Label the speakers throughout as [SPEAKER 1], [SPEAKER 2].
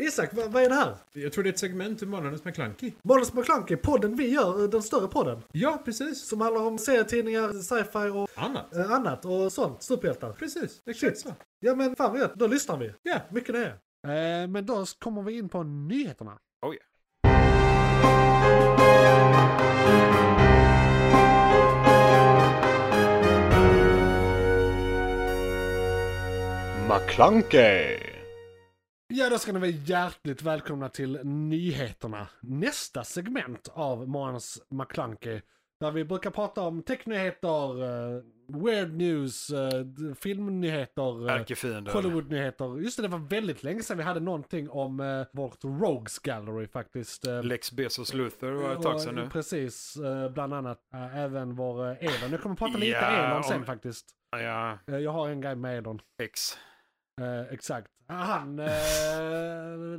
[SPEAKER 1] Isak, vad, vad är det här?
[SPEAKER 2] Jag tror det är ett segment ur Månadens McKlunky.
[SPEAKER 1] Måns McClunky, podden vi gör, eh, den större podden.
[SPEAKER 2] Ja, precis.
[SPEAKER 1] Som handlar om serietidningar, sci-fi och
[SPEAKER 2] Annat.
[SPEAKER 1] eh, annat och sånt. Superhjältar.
[SPEAKER 2] Precis, exakt
[SPEAKER 1] Shit.
[SPEAKER 2] så.
[SPEAKER 1] Ja men fan vad gött, då lyssnar vi.
[SPEAKER 2] Ja.
[SPEAKER 1] Mycket det.
[SPEAKER 3] Eh, men då kommer vi in på nyheterna.
[SPEAKER 4] Oj.
[SPEAKER 5] McClunkey!
[SPEAKER 3] Ja, då ska ni vara hjärtligt välkomna till nyheterna. Nästa segment av Månadens McClunky. Där vi brukar prata om technyheter, eh, weird news, eh, d- filmnyheter, eh,
[SPEAKER 4] Ärkefienden.
[SPEAKER 3] Hollywoodnyheter. Just det, det var väldigt länge sedan vi hade någonting om eh, vårt Rogues Gallery faktiskt. Eh,
[SPEAKER 4] Lex Bezos Luther var ett tag sedan
[SPEAKER 3] och,
[SPEAKER 4] nu.
[SPEAKER 3] Precis, eh, bland annat eh, även vår eh, Elon. Jag kommer prata lite
[SPEAKER 4] Ja,
[SPEAKER 3] Elon sen
[SPEAKER 4] om-
[SPEAKER 3] faktiskt.
[SPEAKER 4] Ja,
[SPEAKER 3] Eh, Jag har en grej med Elon.
[SPEAKER 4] X.
[SPEAKER 3] Eh, exakt. Ah, Han, eh,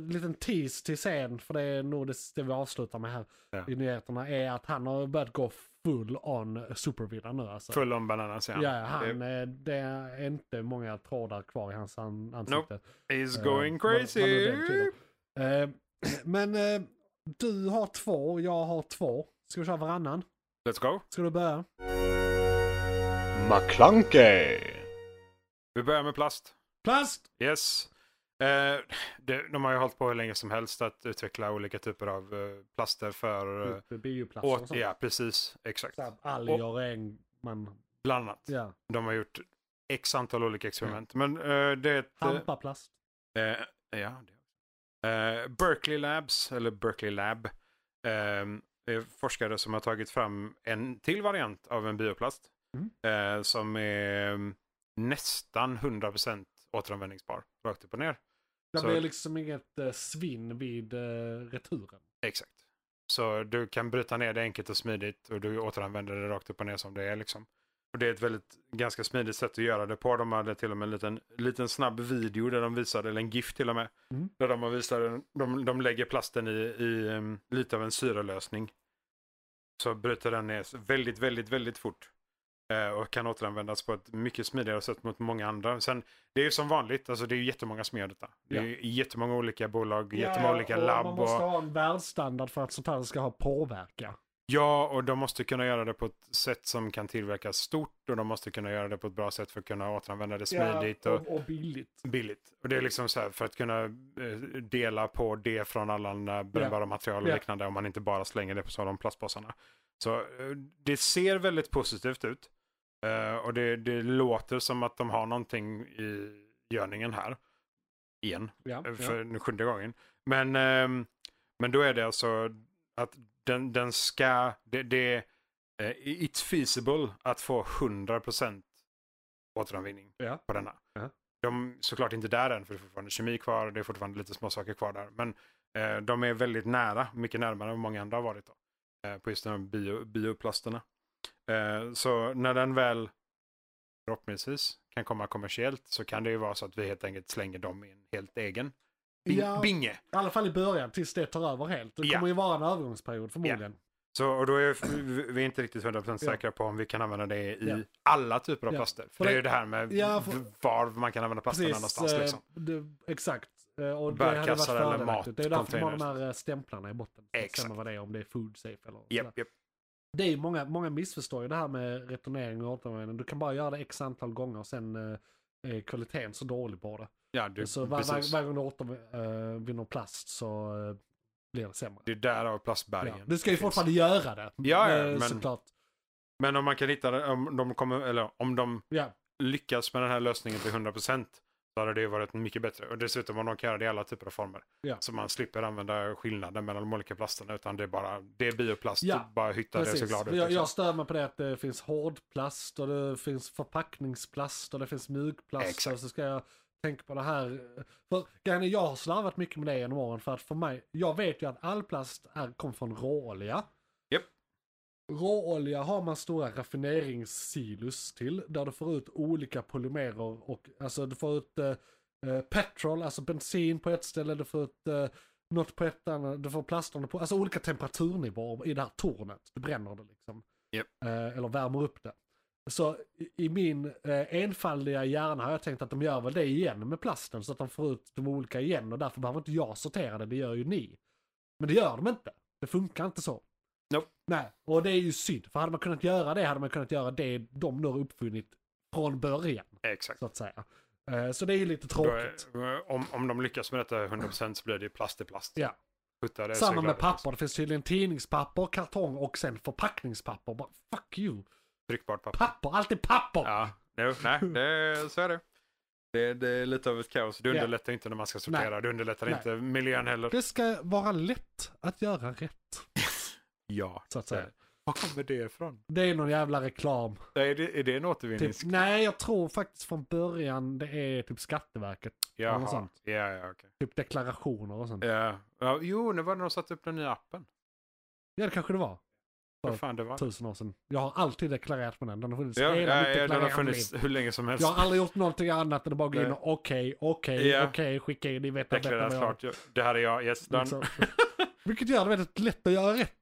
[SPEAKER 3] liten tease till sen, för det är nog det, det vi avslutar med här
[SPEAKER 4] Ja.
[SPEAKER 3] i nyheterna, är att han har börjat gå full on supervillan nu alltså.
[SPEAKER 4] Full om bananas ja.
[SPEAKER 3] Ja, han, det... det är inte många trådar kvar i hans an- ansikte.
[SPEAKER 4] Is
[SPEAKER 3] Eh,
[SPEAKER 4] going
[SPEAKER 3] vad- vad nu
[SPEAKER 4] crazy.
[SPEAKER 3] den betyder. Eh, men eh, du har två, jag har två. Ska vi köra varannan?
[SPEAKER 4] Let's go.
[SPEAKER 3] Ska du börja?
[SPEAKER 5] McClunkey!
[SPEAKER 4] Vi börjar med plast.
[SPEAKER 3] Plast!
[SPEAKER 4] Yes. Eh, det, de har ju hållit på hur länge som helst att utveckla olika typer av eh, plaster för... Eh,
[SPEAKER 3] Bioplast och
[SPEAKER 4] åt,
[SPEAKER 3] sånt.
[SPEAKER 4] ja, precis. Exakt.
[SPEAKER 3] Så här, Alger, regn, man...
[SPEAKER 4] Bland annat.
[SPEAKER 3] Ja.
[SPEAKER 4] De har gjort x antal olika experiment. Men eh, det är ett... eh,
[SPEAKER 3] Hampaplast.
[SPEAKER 4] Eh, ja, det. Eh, Berkeley Labs, eller Berkeley Lab, ehm, är forskare som har tagit fram en till variant av en bioplast. Eh, som är mm, nästan 100% återanvändningsbar, rakt upp och ner.
[SPEAKER 3] Det
[SPEAKER 4] Så-
[SPEAKER 3] blir liksom inget eh, svinn vid eh, returen.
[SPEAKER 4] Exakt. Så du kan bryta ner det enkelt och smidigt och du återanvänder det rakt upp och ner som det är. Liksom. Och det är ett väldigt ganska smidigt sätt att göra det på. De hade till och med en liten, liten snabb video där de visade, eller en GIF till och med,
[SPEAKER 3] Mm.
[SPEAKER 4] där de visar, de, de lägger plasten i, i em, lite av en syralösning. Så bryter den ner väldigt, väldigt, väldigt fort. Eh, och kan återanvändas på ett mycket smidigare sätt mot många andra. Sen, det är ju som vanligt, alltså det är ju jättemånga som gör detta. Det är ju jättemånga olika bolag, jättemånga olika
[SPEAKER 3] och
[SPEAKER 4] labb.
[SPEAKER 3] Man måste
[SPEAKER 4] och...
[SPEAKER 3] ha en världsstandard för att sånt här ska ha påverka.
[SPEAKER 4] Ja, och de måste kunna göra det på ett sätt som kan tillverkas stort och de måste kunna göra det på ett bra sätt för att kunna återanvända det smidigt och
[SPEAKER 3] och, och billigt.
[SPEAKER 4] billigt. Och det är liksom så här för att kunna eh, dela på det från alla andra brännbara material och
[SPEAKER 3] Ja.
[SPEAKER 4] liknande om man inte bara slänger det på sådana plastpåsarna. Så eh, det ser väldigt positivt ut Eh, och det, det låter som att de har någonting i görningen här. Igen
[SPEAKER 3] Ja,
[SPEAKER 4] eh, för
[SPEAKER 3] ja.
[SPEAKER 4] den sjunde gången. Men, ehm, men då är det alltså att den, den ska, det, det är eh, it's feasible att få 100% återanvändning
[SPEAKER 3] Ja.
[SPEAKER 4] på denna.
[SPEAKER 3] Ja.
[SPEAKER 4] De är såklart inte där än för det är fortfarande kemi kvar och det är fortfarande lite små saker kvar där. Men eh, de är väldigt nära, mycket närmare än vad många andra har varit då. Eh, på just de här bio, bioplasterna. Eh, så när den väl förhoppningsvis kan komma kommersiellt så kan det ju vara så att vi helt enkelt slänger dem i en helt egen bing,
[SPEAKER 3] Ja.
[SPEAKER 4] binge.
[SPEAKER 3] I alla fall i början, tills det tar över helt. Det
[SPEAKER 4] Ja.
[SPEAKER 3] kommer ju vara en övergångsperiod förmodligen.
[SPEAKER 4] Så, och då är vi, vi är inte riktigt 100%
[SPEAKER 3] Ja.
[SPEAKER 4] säkra på om vi kan använda det i
[SPEAKER 3] Ja.
[SPEAKER 4] alla typer av
[SPEAKER 3] Ja.
[SPEAKER 4] plaster. För
[SPEAKER 3] För
[SPEAKER 4] det är
[SPEAKER 3] det-
[SPEAKER 4] ju det här med
[SPEAKER 3] Ja, för-
[SPEAKER 4] v- var man kan använda plasten någonstans.
[SPEAKER 3] eh,
[SPEAKER 4] Liksom.
[SPEAKER 3] det, exakt. Eh, Och det hade varit
[SPEAKER 4] Bärkassar eller
[SPEAKER 3] fördelaktigt. Det är därför man har de
[SPEAKER 4] matcontainers.
[SPEAKER 3] här eh, stämplarna i botten. För att
[SPEAKER 4] Exakt.
[SPEAKER 3] bestämma vad det är, om det är food safe eller sådär.
[SPEAKER 4] Japp, japp.
[SPEAKER 3] Det är ju många, många missförstår ju det här med returnering och återanvändning. Du kan bara göra det x antal gånger och sen eh, är kvaliteten så dålig på det.
[SPEAKER 4] Ja, du,
[SPEAKER 3] så var, var,
[SPEAKER 4] precis.
[SPEAKER 3] varje gång du återvinner plast så eh, blir det sämre.
[SPEAKER 4] Det är därav
[SPEAKER 3] Ja.
[SPEAKER 4] plastbergen.
[SPEAKER 3] Du ska ju
[SPEAKER 4] finns.
[SPEAKER 3] fortfarande göra det.
[SPEAKER 4] Ja, ja,
[SPEAKER 3] eh,
[SPEAKER 4] men-
[SPEAKER 3] Såklart.
[SPEAKER 4] Men om man kan hitta det, om de, kommer, eller om de
[SPEAKER 3] Ja.
[SPEAKER 4] lyckas med den här lösningen till 100% så hade det ju varit mycket bättre. Och dessutom om de kan göra det i alla typer av former.
[SPEAKER 3] Ja.
[SPEAKER 4] Så man slipper använda skillnaden mellan de olika plasterna utan det är bara, det är bioplast,
[SPEAKER 3] Ja,
[SPEAKER 4] bara hytta det och så
[SPEAKER 3] Precis.
[SPEAKER 4] glad
[SPEAKER 3] Jag,
[SPEAKER 4] ut. liksom.
[SPEAKER 3] jag stör mig på det att det finns hårdplast och det finns förpackningsplast och det finns mjukplast.
[SPEAKER 4] Exakt.
[SPEAKER 3] Och så ska jag tänka på det här. För, grejen är, jag har slarvat mycket med det genom åren för att för mig, jag vet ju att all plast är, kom från råolja.
[SPEAKER 4] Japp.
[SPEAKER 3] Råolja har man stora raffineringssilus till där du får ut olika polymerer och alltså du får ut eh, eh, petrol, alltså bensin på ett ställe, du får ut eh, något på ett annat, du får plastrande på, alltså olika temperaturnivåer i det här tornet. Du bränner det liksom.
[SPEAKER 4] Japp.
[SPEAKER 3] Eh, eller värmer upp det. Så i- i min eh, enfaldiga hjärna har jag tänkt att de gör väl det igen med plasten så att de får ut de olika igen och därför behöver inte jag sortera det, det gör ju ni. Men det gör de inte. Det funkar inte så.
[SPEAKER 4] Nope.
[SPEAKER 3] Nej, och det är ju synd. För hade man kunnat göra det hade man kunnat göra det de nu har uppfunnit från början,
[SPEAKER 4] Exakt.
[SPEAKER 3] så att säga. Eh, Så det är ju lite
[SPEAKER 4] Då är-
[SPEAKER 3] tråkigt.
[SPEAKER 4] om, om de lyckas med detta 100% så blir det ju plast i plast.
[SPEAKER 3] Ja.
[SPEAKER 4] Puttar det så
[SPEAKER 3] Samma
[SPEAKER 4] glad
[SPEAKER 3] med
[SPEAKER 4] jag är.
[SPEAKER 3] papper. Det finns tydligen tidningspapper, kartong och sen förpackningspapper. Bara, fuck you.
[SPEAKER 4] Tryckbart papper.
[SPEAKER 3] Papper, alltid papper!
[SPEAKER 4] Ja, jo, nej, det, så är det. det. Det är lite av ett kaos. Det
[SPEAKER 3] Ja.
[SPEAKER 4] underlättar inte när man ska sortera. Det underlättar
[SPEAKER 3] Nej.
[SPEAKER 4] inte miljön heller.
[SPEAKER 3] Det ska vara lätt att göra rätt,
[SPEAKER 4] Ja. Eh.
[SPEAKER 3] så att säga.
[SPEAKER 4] Var kommer det ifrån?
[SPEAKER 3] Det är någon jävla reklam.
[SPEAKER 4] Är det, är det en återvinning?
[SPEAKER 3] Typ, nej, jag tror faktiskt från början det är typ Skatteverket. eller något
[SPEAKER 4] Jaha.
[SPEAKER 3] sånt.
[SPEAKER 4] Ja, ja, okej.
[SPEAKER 3] Typ deklarationer och sånt.
[SPEAKER 4] Ja. Ja, jo, nu var det de satte upp den nya appen.
[SPEAKER 3] Ja, det kanske det var. Ja. typ.
[SPEAKER 4] Hur fan det var?
[SPEAKER 3] Tusen år sedan. Jag har alltid deklarerat med den. Den har funnits
[SPEAKER 4] Ja,
[SPEAKER 3] hela mitt
[SPEAKER 4] ja, ja, den har
[SPEAKER 3] deklarerande
[SPEAKER 4] funnits
[SPEAKER 3] liv.
[SPEAKER 4] hur länge som helst.
[SPEAKER 3] Jag har aldrig gjort någonting annat än att bara gå in
[SPEAKER 4] Nej.
[SPEAKER 3] och okej, okej,
[SPEAKER 4] Ja.
[SPEAKER 3] okej, skicka in, ni vet att detta
[SPEAKER 4] Deklarerat
[SPEAKER 3] var jag.
[SPEAKER 4] klart. Ja, Det här är jag, yes, done.
[SPEAKER 3] Liksom. Vilket gör det väldigt lätt att göra rätt.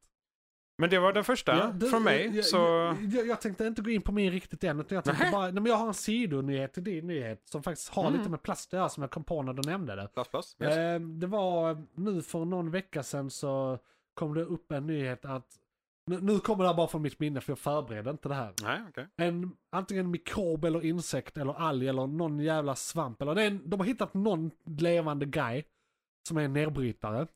[SPEAKER 4] Men det var den första
[SPEAKER 3] Ja, det-
[SPEAKER 4] från mig.
[SPEAKER 3] jag,
[SPEAKER 4] så...
[SPEAKER 3] Jag, jag, jag tänkte inte gå in på min riktigt än. Utan jag, tänkte
[SPEAKER 4] Nähä.
[SPEAKER 3] bara, nej, men jag har en sidonyhet till din nyhet som faktiskt har
[SPEAKER 4] Mm.
[SPEAKER 3] lite med plast att göra som jag kom på när du nämnde det.
[SPEAKER 4] Plast, plast.
[SPEAKER 3] Eh, det var nu för någon vecka sedan så kom det upp en nyhet att nu, nu kommer det här bara från mitt minne för jag förberedde inte det här.
[SPEAKER 4] Nej, okej.
[SPEAKER 3] En, antingen mikrob eller insekt eller alg eller någon jävla svamp. Eller det är en, de har hittat någon levande guy som är en nedbrytare.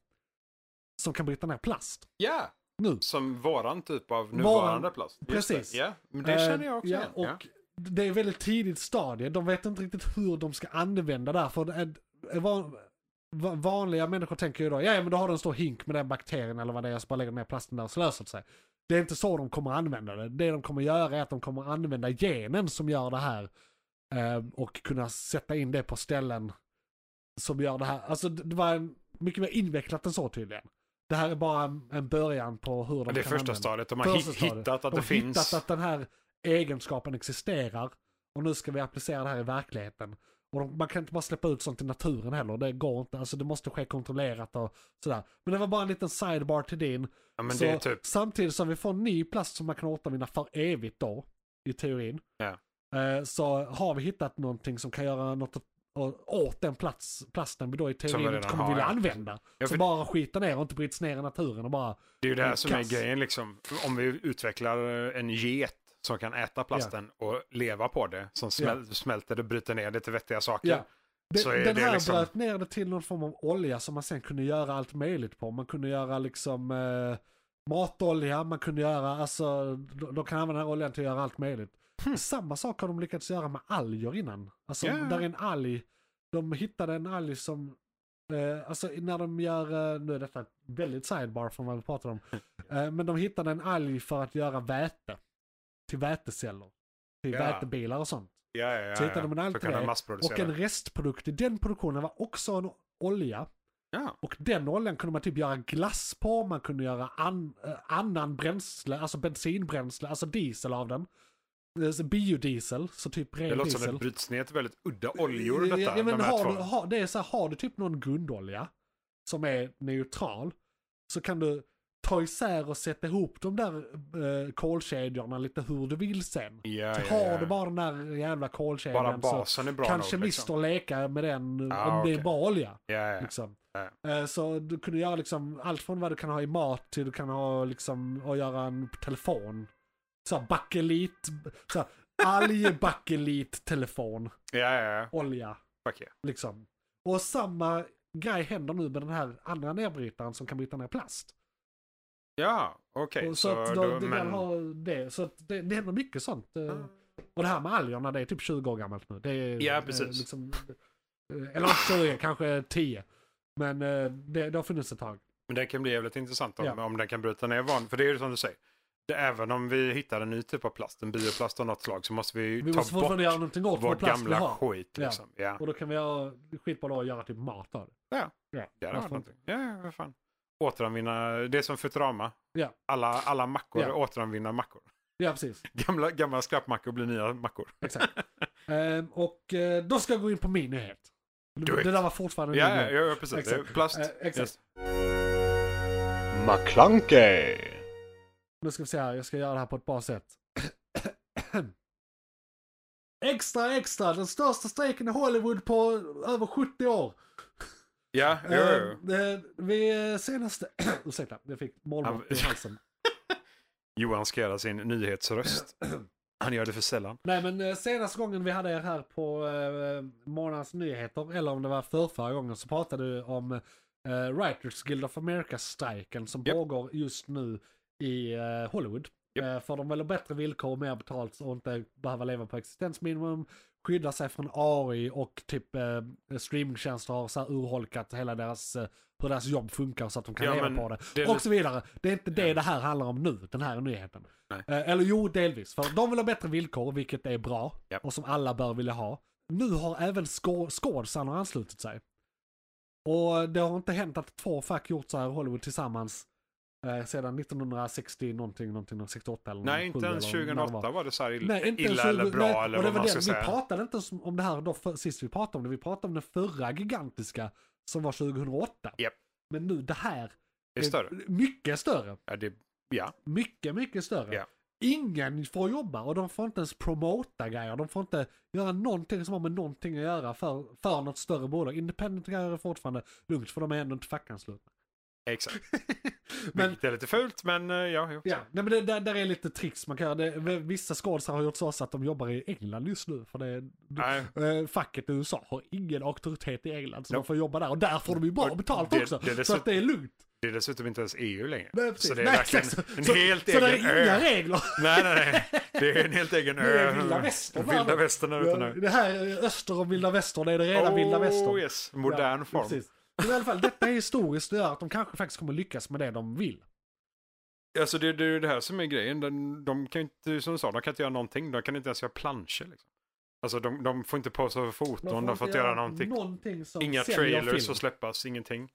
[SPEAKER 3] Som kan bryta ner plast.
[SPEAKER 4] Ja,
[SPEAKER 3] Nu.
[SPEAKER 4] som våran typ av
[SPEAKER 3] Våran-
[SPEAKER 4] nuvarande plast. Just
[SPEAKER 3] precis.
[SPEAKER 4] Det. Ja, men det känner jag också
[SPEAKER 3] Eh, ja,
[SPEAKER 4] igen.
[SPEAKER 3] och
[SPEAKER 4] ja.
[SPEAKER 3] Det är väldigt tidigt stadie. De vet inte riktigt hur de ska använda det här. För det är- van, va- vanliga människor tänker ju då, ja ja, men då har de en stor hink med den bakterien eller vad det är, så bara lägger de ner plasten där och så löser det sig. Det är inte så de kommer använda det. Det de kommer göra är att de kommer använda genen som gör det här eh, och kunna sätta in det på ställen som gör det här. Alltså det det var en- mycket mer invecklat än så tydligen. Det här är bara en, en början på hur de
[SPEAKER 4] det är
[SPEAKER 3] kan
[SPEAKER 4] första
[SPEAKER 3] använda
[SPEAKER 4] stadiet. De har
[SPEAKER 3] Första
[SPEAKER 4] hit,
[SPEAKER 3] stadiet.
[SPEAKER 4] hittat att
[SPEAKER 3] de
[SPEAKER 4] det
[SPEAKER 3] har
[SPEAKER 4] finns.
[SPEAKER 3] hittat att den här egenskapen existerar och nu ska vi applicera det här i verkligheten. Och de, man kan inte bara släppa ut sånt i naturen heller, det går inte. Alltså det måste ske kontrollerat och sådär. Men det var bara en liten sidebar till din.
[SPEAKER 4] Ja, men
[SPEAKER 3] så
[SPEAKER 4] det är typ...
[SPEAKER 3] Samtidigt som vi får ny plast som man kan återvinna för evigt då, i teorin.
[SPEAKER 4] Ja.
[SPEAKER 3] Eh, Så har vi hittat någonting som kan göra något åt- åt den plats, plasten vi då i
[SPEAKER 4] Som vi
[SPEAKER 3] teorin inte
[SPEAKER 4] redan
[SPEAKER 3] kommer
[SPEAKER 4] har,
[SPEAKER 3] vilja
[SPEAKER 4] ja.
[SPEAKER 3] använda.
[SPEAKER 4] Ja,
[SPEAKER 3] Som
[SPEAKER 4] för-
[SPEAKER 3] bara skiter ner och inte bryts ner i naturen och bara
[SPEAKER 4] Det är ju det här som är
[SPEAKER 3] Kass.
[SPEAKER 4] grejen liksom. Om vi utvecklar eh, en get som kan äta plasten och leva på det, som smäl- smälter det, bryter ner det till vettiga saker.
[SPEAKER 3] Ja. Det,
[SPEAKER 4] Så är
[SPEAKER 3] den
[SPEAKER 4] det
[SPEAKER 3] här
[SPEAKER 4] liksom-
[SPEAKER 3] bröt ner det till någon form av olja som man sen kunde göra allt möjligt på. Man kunde göra liksom eh, matolja, man kunde göra, alltså de, de kan använda den här oljan till att göra allt möjligt. Samma sak har de lyckats göra med alger innan. Alltså
[SPEAKER 4] Hmm. Ja.
[SPEAKER 3] där är en alg, de hittade en alg som, eh, alltså när de gör, eh, nu är detta väldigt sidebar från vad vi pratar om, eh, men de hittade en alg för att göra väte. Till väteceller. Till
[SPEAKER 4] Ja.
[SPEAKER 3] vätebilar och sånt.
[SPEAKER 4] Ja, ja, ja,
[SPEAKER 3] Så hittade de en
[SPEAKER 4] ja.
[SPEAKER 3] allt
[SPEAKER 4] Så kan
[SPEAKER 3] det,
[SPEAKER 4] de
[SPEAKER 3] Och
[SPEAKER 4] massproducera.
[SPEAKER 3] en restprodukt i den produktionen var också en olja.
[SPEAKER 4] Ja.
[SPEAKER 3] Och den oljan kunde man typ göra glass på, man kunde göra an, eh, annan bränsle, alltså bensinbränsle, alltså diesel av den. Eh, så Biodiesel, så typ ren
[SPEAKER 4] Det låter som
[SPEAKER 3] diesel.
[SPEAKER 4] att det bryts ner till väldigt udda oljor detta.
[SPEAKER 3] ja, ja, men
[SPEAKER 4] de här
[SPEAKER 3] har,
[SPEAKER 4] två.
[SPEAKER 3] du, har, det är så här, har du typ någon grundolja som är neutral så kan du ta isär och sätta ihop de där eh, kolkedjorna lite hur du vill sen.
[SPEAKER 4] Ja,
[SPEAKER 3] Så
[SPEAKER 4] ja,
[SPEAKER 3] har
[SPEAKER 4] ja.
[SPEAKER 3] du bara den där jävla kolkedjan
[SPEAKER 4] Bara
[SPEAKER 3] så
[SPEAKER 4] basen är bra
[SPEAKER 3] kanske
[SPEAKER 4] nog.
[SPEAKER 3] mister
[SPEAKER 4] Liksom.
[SPEAKER 3] leka med den
[SPEAKER 4] Ah,
[SPEAKER 3] om det är
[SPEAKER 4] okej.
[SPEAKER 3] bara olja.
[SPEAKER 4] Ja, ja, ja.
[SPEAKER 3] Liksom.
[SPEAKER 4] Ja.
[SPEAKER 3] Eh, Så du kunde göra liksom allt från vad du kan ha i mat till du kan ha liksom och göra en telefon. Så här bakelit, så här algbakelit telefon,
[SPEAKER 4] ja, ja, ja.
[SPEAKER 3] olja
[SPEAKER 4] Fuck yeah.
[SPEAKER 3] liksom. Och samma grej händer nu med den här andra nedbrytaren som kan bryta ner plast.
[SPEAKER 4] Ja, okej.
[SPEAKER 3] och så,
[SPEAKER 4] så
[SPEAKER 3] att
[SPEAKER 4] då,
[SPEAKER 3] de, de
[SPEAKER 4] men...
[SPEAKER 3] men... har det. Så att det, det händer mycket sånt. eh. Och det här med algerna, det är typ 20 år gammalt nu. Det är,
[SPEAKER 4] Ja,
[SPEAKER 3] eh,
[SPEAKER 4] precis.
[SPEAKER 3] Liksom, eh, eller inte 20, kanske 10. Men eh, det, det har funnits ett tag.
[SPEAKER 4] Men den kan bli jävligt intressant om,
[SPEAKER 3] Ja.
[SPEAKER 4] om den kan bryta ner van. För det är ju som du säger. Det, även om vi hittar en ny typ av plast, en bioplast av något slag, så måste vi, ju
[SPEAKER 3] Vi
[SPEAKER 4] ta
[SPEAKER 3] måste
[SPEAKER 4] bort
[SPEAKER 3] fortfarande göra någonting åt
[SPEAKER 4] vår
[SPEAKER 3] vår plast vi
[SPEAKER 4] gamla
[SPEAKER 3] har.
[SPEAKER 4] skit.
[SPEAKER 3] Ja.
[SPEAKER 4] Liksom. Ja.
[SPEAKER 3] Och då kan vi göra skit på det och göra typ mat av det.
[SPEAKER 4] Ja.
[SPEAKER 3] ja.
[SPEAKER 4] Det hade
[SPEAKER 3] varför
[SPEAKER 4] varit
[SPEAKER 3] inte?
[SPEAKER 4] någonting. Ja, ja, vad fan. Återanvinna, det är som Futurama.
[SPEAKER 3] Ja.
[SPEAKER 4] Alla, alla mackor
[SPEAKER 3] Ja.
[SPEAKER 4] återanvinna mackor.
[SPEAKER 3] Ja, precis.
[SPEAKER 4] Gamla, gamla skräpmackor blir nya mackor.
[SPEAKER 3] Exakt. Ehm, och eh, då ska jag gå in på min nyhet.
[SPEAKER 4] Do
[SPEAKER 3] Det
[SPEAKER 4] it.
[SPEAKER 3] där var fortfarande
[SPEAKER 4] Ja,
[SPEAKER 3] min
[SPEAKER 4] ja,
[SPEAKER 3] nyhet.
[SPEAKER 4] ja, precis. Det är
[SPEAKER 3] Exakt.
[SPEAKER 4] plast.
[SPEAKER 3] Eh, exakt.
[SPEAKER 4] Yes.
[SPEAKER 5] McClunkey.
[SPEAKER 3] Nu ska vi se här, jag ska göra det här på ett bra sätt. Extra, extra! Den största strejken i Hollywood på över 70 år.
[SPEAKER 4] Ja, jo, jo.
[SPEAKER 3] Eh, eh, vid eh, senaste... Ursäkta, jag fick
[SPEAKER 4] Ja,
[SPEAKER 3] målbrott i
[SPEAKER 4] men-
[SPEAKER 3] halsen.
[SPEAKER 4] Johan ska göra sin nyhetsröst. Han gör det för sällan.
[SPEAKER 3] Nej men eh, senaste gången vi hade er här på eh, Månadens Nyheter, eller om det var för förra gången, så pratade du om eh, Writers Guild of America-strejken som
[SPEAKER 4] Japp.
[SPEAKER 3] pågår just nu i eh, Hollywood.
[SPEAKER 4] Japp.
[SPEAKER 3] Eh, för de vill ha bättre villkor, mer betalt och inte behöva leva på existensminimum, skydda sig från AI och typ eh, streamingtjänster har så här urholkat hela deras, eh, hur deras jobb funkar så att de kan
[SPEAKER 4] Ja,
[SPEAKER 3] leva
[SPEAKER 4] men
[SPEAKER 3] på det.
[SPEAKER 4] det är
[SPEAKER 3] och
[SPEAKER 4] lite-
[SPEAKER 3] så vidare. Det är inte det det här handlar om nu, den här nyheten.
[SPEAKER 4] Nej.
[SPEAKER 3] Eh, Eller jo, delvis. För de vill ha bättre villkor, vilket är bra.
[SPEAKER 4] Ja.
[SPEAKER 3] Och som alla bör vilja ha. Nu har även skå- skådisarna anslutit sig. Och det har inte hänt att två fack gjort så här i Hollywood tillsammans eh, sedan 1960 någonting, någonting, 68 eller
[SPEAKER 4] Nej,
[SPEAKER 3] 97
[SPEAKER 4] inte ens
[SPEAKER 3] eller när det var.
[SPEAKER 4] 2008 var det så här illa,
[SPEAKER 3] Nej, inte ens
[SPEAKER 4] illa eller
[SPEAKER 3] 20
[SPEAKER 4] bra
[SPEAKER 3] nej,
[SPEAKER 4] eller
[SPEAKER 3] och det
[SPEAKER 4] vad
[SPEAKER 3] var
[SPEAKER 4] man
[SPEAKER 3] den,
[SPEAKER 4] ska
[SPEAKER 3] vi
[SPEAKER 4] säga.
[SPEAKER 3] pratade inte ens om det här då för, sist vi pratade om det. Vi pratade om den förra gigantiska som var 2008.
[SPEAKER 4] Japp.
[SPEAKER 3] Men nu det här
[SPEAKER 4] Det är större.
[SPEAKER 3] Eh, mycket större.
[SPEAKER 4] Ja, det, ja.
[SPEAKER 3] Mycket, mycket större.
[SPEAKER 4] Ja.
[SPEAKER 3] Ingen får jobba och de får inte ens promota grejer. De får inte göra någonting som har med någonting att göra för, för något större bolag. Independent grejer är fortfarande lugnt för de är ändå inte fackanslutna.
[SPEAKER 4] exakt.
[SPEAKER 3] Men
[SPEAKER 4] Vilket är lite fult, men eh, ja. Jo.
[SPEAKER 3] Ja, nej, men det, där, där är lite tricks man kan göra. Det, vissa skådisar har gjort så att de jobbar i England just nu. För det,
[SPEAKER 4] Nej.
[SPEAKER 3] eh, facket i USA har ingen auktoritet i England så de
[SPEAKER 4] Ah. Nope.
[SPEAKER 3] får jobba där. Och där får de ju bra
[SPEAKER 4] Och
[SPEAKER 3] betalt
[SPEAKER 4] det-
[SPEAKER 3] också.
[SPEAKER 4] det är
[SPEAKER 3] så
[SPEAKER 4] dessutom-
[SPEAKER 3] att det är lugnt.
[SPEAKER 4] Det är dessutom inte ens EU längre.
[SPEAKER 3] Nej,
[SPEAKER 4] så
[SPEAKER 3] precis.
[SPEAKER 4] det är
[SPEAKER 3] Nej,
[SPEAKER 4] verkligen
[SPEAKER 3] exakt.
[SPEAKER 4] en
[SPEAKER 3] så, så
[SPEAKER 4] helt egen
[SPEAKER 3] det är inga
[SPEAKER 4] ö.
[SPEAKER 3] regler.
[SPEAKER 4] Nej, nej, nej. Det är en helt egen ö.
[SPEAKER 3] Det är vilda västern.
[SPEAKER 4] Eh, Vilda västern är ute nu.
[SPEAKER 3] Det här är öster om vilda västern, det är det rena vilda västern.
[SPEAKER 4] Oh yes, modern
[SPEAKER 3] Ja,
[SPEAKER 4] form.
[SPEAKER 3] Precis. Men i alla fall, detta är historiskt, det gör att de kanske faktiskt kommer lyckas med det de vill.
[SPEAKER 4] Alltså det, det är ju det här som är grejen. De, de kan ju inte, som du sa, de kan inte göra någonting. De kan inte ens göra planscher. Liksom. Alltså de, de får inte posta för foton, de får, inte göra någonting.
[SPEAKER 3] som
[SPEAKER 4] Inga
[SPEAKER 3] säljer
[SPEAKER 4] trailers
[SPEAKER 3] film.
[SPEAKER 4] får släppas, ingenting.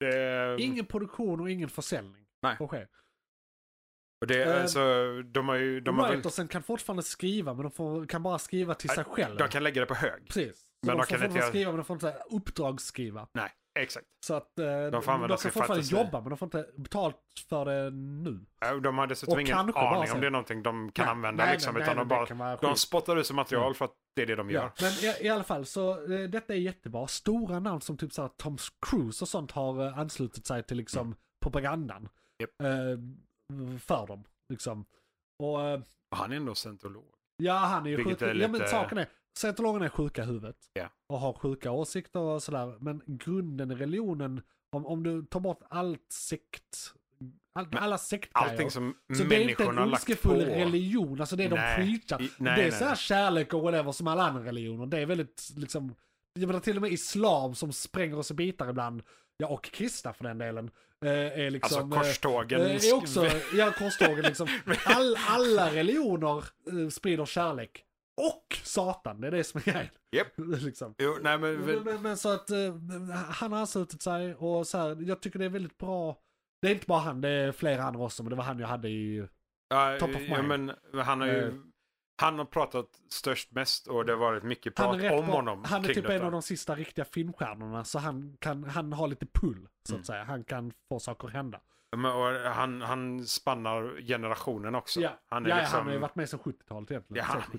[SPEAKER 4] Det,
[SPEAKER 3] Ingen produktion och ingen försäljning.
[SPEAKER 4] Nej.
[SPEAKER 3] får ske.
[SPEAKER 4] och det,
[SPEAKER 3] eh,
[SPEAKER 4] alltså, de har ju... De, har, väl-
[SPEAKER 3] Writersen kan fortfarande skriva men de får, kan bara skriva till sig själva.
[SPEAKER 4] de kan lägga det på hög.
[SPEAKER 3] Precis. Så
[SPEAKER 4] Men
[SPEAKER 3] de,
[SPEAKER 4] de
[SPEAKER 3] får
[SPEAKER 4] kan inte
[SPEAKER 3] fortfarande
[SPEAKER 4] göra-
[SPEAKER 3] skriva men de får inte uppdragsskriva.
[SPEAKER 4] Nej, exakt.
[SPEAKER 3] Så att eh, de, de
[SPEAKER 4] får använda
[SPEAKER 3] kan
[SPEAKER 4] sin
[SPEAKER 3] fortfarande
[SPEAKER 4] fantasi.
[SPEAKER 3] jobba men de får inte betalt för det nu.
[SPEAKER 4] Eh, De har dessutom
[SPEAKER 3] Och
[SPEAKER 4] ingen
[SPEAKER 3] kanske bara
[SPEAKER 4] aning
[SPEAKER 3] så.
[SPEAKER 4] om det är någonting de kan
[SPEAKER 3] Nej,
[SPEAKER 4] använda.
[SPEAKER 3] nej,
[SPEAKER 4] liksom,
[SPEAKER 3] nej,
[SPEAKER 4] utan
[SPEAKER 3] nej,
[SPEAKER 4] de,
[SPEAKER 3] det
[SPEAKER 4] bara,
[SPEAKER 3] kan vara
[SPEAKER 4] de
[SPEAKER 3] skit.
[SPEAKER 4] spottar ut som material för att det är det de gör.
[SPEAKER 3] Ja. Men i, i alla fall så eh, detta är jättebra. Stora namn som typ så här, Tom Cruise och sånt har eh, anslutit sig till liksom propagandan.
[SPEAKER 4] Japp.
[SPEAKER 3] Eh, för dem. Liksom. Och eh,
[SPEAKER 4] Och han är ändå scientolog.
[SPEAKER 3] ja han är ju
[SPEAKER 4] Vilket
[SPEAKER 3] sjuk.
[SPEAKER 4] är
[SPEAKER 3] Ja men
[SPEAKER 4] lite-
[SPEAKER 3] saken är, scientologerna är sjuka i huvudet.
[SPEAKER 4] Ja.
[SPEAKER 3] Och har sjuka åsikter och sådär. Men grunden i religionen, om, om du tar bort allt sekt, all,
[SPEAKER 4] Men
[SPEAKER 3] alla sektgrejer.
[SPEAKER 4] Allting som
[SPEAKER 3] Så det är inte en
[SPEAKER 4] människorna har lagt på.
[SPEAKER 3] ondskefull religion, alltså det är de
[SPEAKER 4] Nej.
[SPEAKER 3] preachar.
[SPEAKER 4] I-
[SPEAKER 3] det
[SPEAKER 4] nej,
[SPEAKER 3] är
[SPEAKER 4] nej,
[SPEAKER 3] så här
[SPEAKER 4] nej.
[SPEAKER 3] kärlek och whatever som alla andra religioner. Det är väldigt liksom, jag menar till och med islam som spränger oss i bitar ibland, ja och kristna för den delen, eh, är liksom...
[SPEAKER 4] Alltså korstågen.
[SPEAKER 3] eh, är också, ja korstågen liksom. All, alla religioner eh, sprider kärlek. Och Satan, det är det som är grejen.
[SPEAKER 4] Japp.
[SPEAKER 3] liksom.
[SPEAKER 4] Jo, nej, men,
[SPEAKER 3] Men, men, men så att eh, han har anslutit sig och så här, jag tycker det är väldigt bra. Det är inte bara han, det är flera andra också, men det var han jag hade i...
[SPEAKER 4] ja,
[SPEAKER 3] top of
[SPEAKER 4] ja,
[SPEAKER 3] mind.
[SPEAKER 4] men han har
[SPEAKER 3] Eh.
[SPEAKER 4] ju han har pratat störst mest och det har varit mycket
[SPEAKER 3] Han
[SPEAKER 4] prat
[SPEAKER 3] är, rätt
[SPEAKER 4] om
[SPEAKER 3] bra-
[SPEAKER 4] honom.
[SPEAKER 3] han är
[SPEAKER 4] kring
[SPEAKER 3] typ en
[SPEAKER 4] detta.
[SPEAKER 3] av de sista riktiga filmstjärnorna, så han, kan, han har lite pull, så att
[SPEAKER 4] Mm.
[SPEAKER 3] säga. Han kan få saker att hända.
[SPEAKER 4] Men, och han, han spannar generationen också.
[SPEAKER 3] Ja.
[SPEAKER 4] Han är
[SPEAKER 3] ja, ja,
[SPEAKER 4] liksom,
[SPEAKER 3] han har ju varit med sedan 70-talet egentligen.
[SPEAKER 4] Ja,
[SPEAKER 3] Ja.
[SPEAKER 4] han-
[SPEAKER 3] 70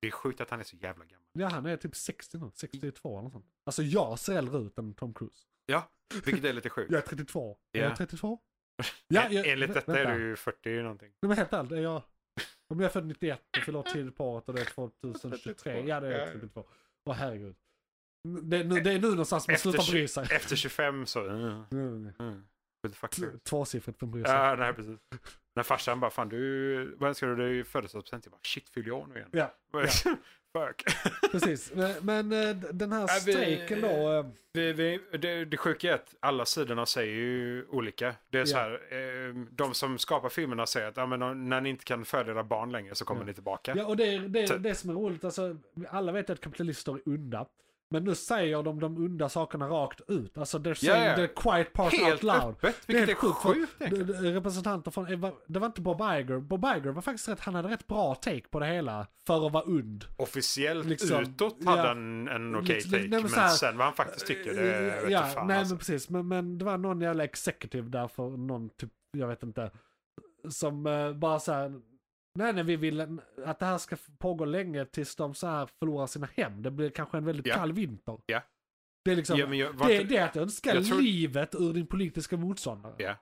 [SPEAKER 4] Det är sjukt att han är så jävla gammal.
[SPEAKER 3] ja, han är typ 60 nu, 62 eller något sånt. Alltså jag ser äldre ut än Tom Cruise.
[SPEAKER 4] Ja, vilket är lite sjukt.
[SPEAKER 3] Jag är 32. Är
[SPEAKER 4] Ja.
[SPEAKER 3] jag 32?
[SPEAKER 4] En- Eh, Enligt detta är du ju 40 någonting.
[SPEAKER 3] Nej men helt ärligt, är jag... Om jag är född 91 och fyller år tidigt på året och det är 2023, ja det
[SPEAKER 4] Ja,
[SPEAKER 3] är
[SPEAKER 4] ja.
[SPEAKER 3] 32. Åh herregud. Det är, nu, det är nu någonstans man
[SPEAKER 4] Efter
[SPEAKER 3] slutar
[SPEAKER 4] tju-
[SPEAKER 3] bry sig.
[SPEAKER 4] Efter 25 så... Uh,
[SPEAKER 3] Mm.
[SPEAKER 4] uh, who the fuck
[SPEAKER 3] T-
[SPEAKER 4] cares?
[SPEAKER 3] Tvåsiffrigt man bryr sig.
[SPEAKER 4] Ja, nej precis. När farsan bara, fan du, vad önskar du dig i födelsedagspresent? Jag bara, shit fyller jag år nu igen?
[SPEAKER 3] Ja,
[SPEAKER 4] Fuck.
[SPEAKER 3] precis. Men, men eh, d- den här
[SPEAKER 4] Ja, vi-
[SPEAKER 3] strejken då. eh,
[SPEAKER 4] Vi, vi, det, det sjuka är att alla sidorna säger ju olika. Det är så
[SPEAKER 3] Ja.
[SPEAKER 4] här, eh, de som skapar filmerna säger att "Ja, men, när ni inte kan föda era barn längre så kommer
[SPEAKER 3] Ja.
[SPEAKER 4] ni tillbaka.
[SPEAKER 3] Ja, och det, är- det, är-
[SPEAKER 4] Typ.
[SPEAKER 3] det som är roligt, alltså, alla vet att kapitalister är onda. Men nu säger de de onda sakerna rakt ut. Alltså they're saying
[SPEAKER 4] ja.
[SPEAKER 3] the quiet part out
[SPEAKER 4] Helt
[SPEAKER 3] loud.
[SPEAKER 4] öppet, vilket är
[SPEAKER 3] sjukt, för
[SPEAKER 4] sjukt egentligen.
[SPEAKER 3] d- d- Representanter från, eh, va- det var inte Bob Iger. Bob Iger var faktiskt rätt, han hade rätt bra take på det hela. För att vara ond.
[SPEAKER 4] Officiellt
[SPEAKER 3] Liksom,
[SPEAKER 4] utåt hade
[SPEAKER 3] ja.
[SPEAKER 4] han en okej
[SPEAKER 3] Liksom,
[SPEAKER 4] take,
[SPEAKER 3] nej, men
[SPEAKER 4] men,
[SPEAKER 3] så här- eh,
[SPEAKER 4] sen vad han faktiskt tycker, det vet
[SPEAKER 3] ja,
[SPEAKER 4] jag fan
[SPEAKER 3] nej
[SPEAKER 4] alltså.
[SPEAKER 3] men precis. Men, men det var någon jävla executive där för någon typ, jag vet inte. Som eh, bara så här, Nej, nej, vi vill att det här ska pågå länge tills de så här förlorar sina hem. Det blir kanske en väldigt
[SPEAKER 4] Ja.
[SPEAKER 3] kall vinter.
[SPEAKER 4] Ja.
[SPEAKER 3] Det är liksom,
[SPEAKER 4] Ja, men jag, var
[SPEAKER 3] det,
[SPEAKER 4] inte-
[SPEAKER 3] det är att önska
[SPEAKER 4] jag tror-
[SPEAKER 3] livet ur din politiska motståndare.
[SPEAKER 4] Ja.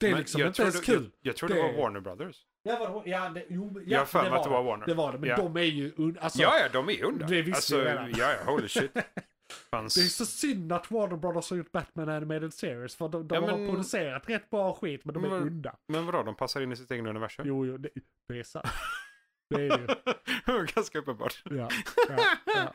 [SPEAKER 3] Det är
[SPEAKER 4] men
[SPEAKER 3] liksom
[SPEAKER 4] jag
[SPEAKER 3] inte
[SPEAKER 4] tror
[SPEAKER 3] ens
[SPEAKER 4] det-
[SPEAKER 3] kul.
[SPEAKER 4] Jag, jag tror det,
[SPEAKER 3] Det-
[SPEAKER 4] var Warner Brothers.
[SPEAKER 3] Ja, var, ja, det, jo, ja,
[SPEAKER 4] Jag har för mig att det var Warner.
[SPEAKER 3] Det var det, men
[SPEAKER 4] Ja.
[SPEAKER 3] de är ju... un- Alltså,
[SPEAKER 4] ja, ja, de är under.
[SPEAKER 3] det visste
[SPEAKER 4] alltså,
[SPEAKER 3] jag redan.
[SPEAKER 4] Ja, ja, holy shit. Fanns...
[SPEAKER 3] Det är så synd att Warner Brothers har gjort Batman Animated Series för de, de
[SPEAKER 4] Ja,
[SPEAKER 3] har
[SPEAKER 4] men-
[SPEAKER 3] producerat rätt bra skit men de är
[SPEAKER 4] Men-
[SPEAKER 3] onda.
[SPEAKER 4] Men vadå, de passar in i sitt eget universum?
[SPEAKER 3] Jo, jo, det, det är sant. Det är det ju.
[SPEAKER 4] Ganska uppenbart.
[SPEAKER 3] Ja, ja, ja.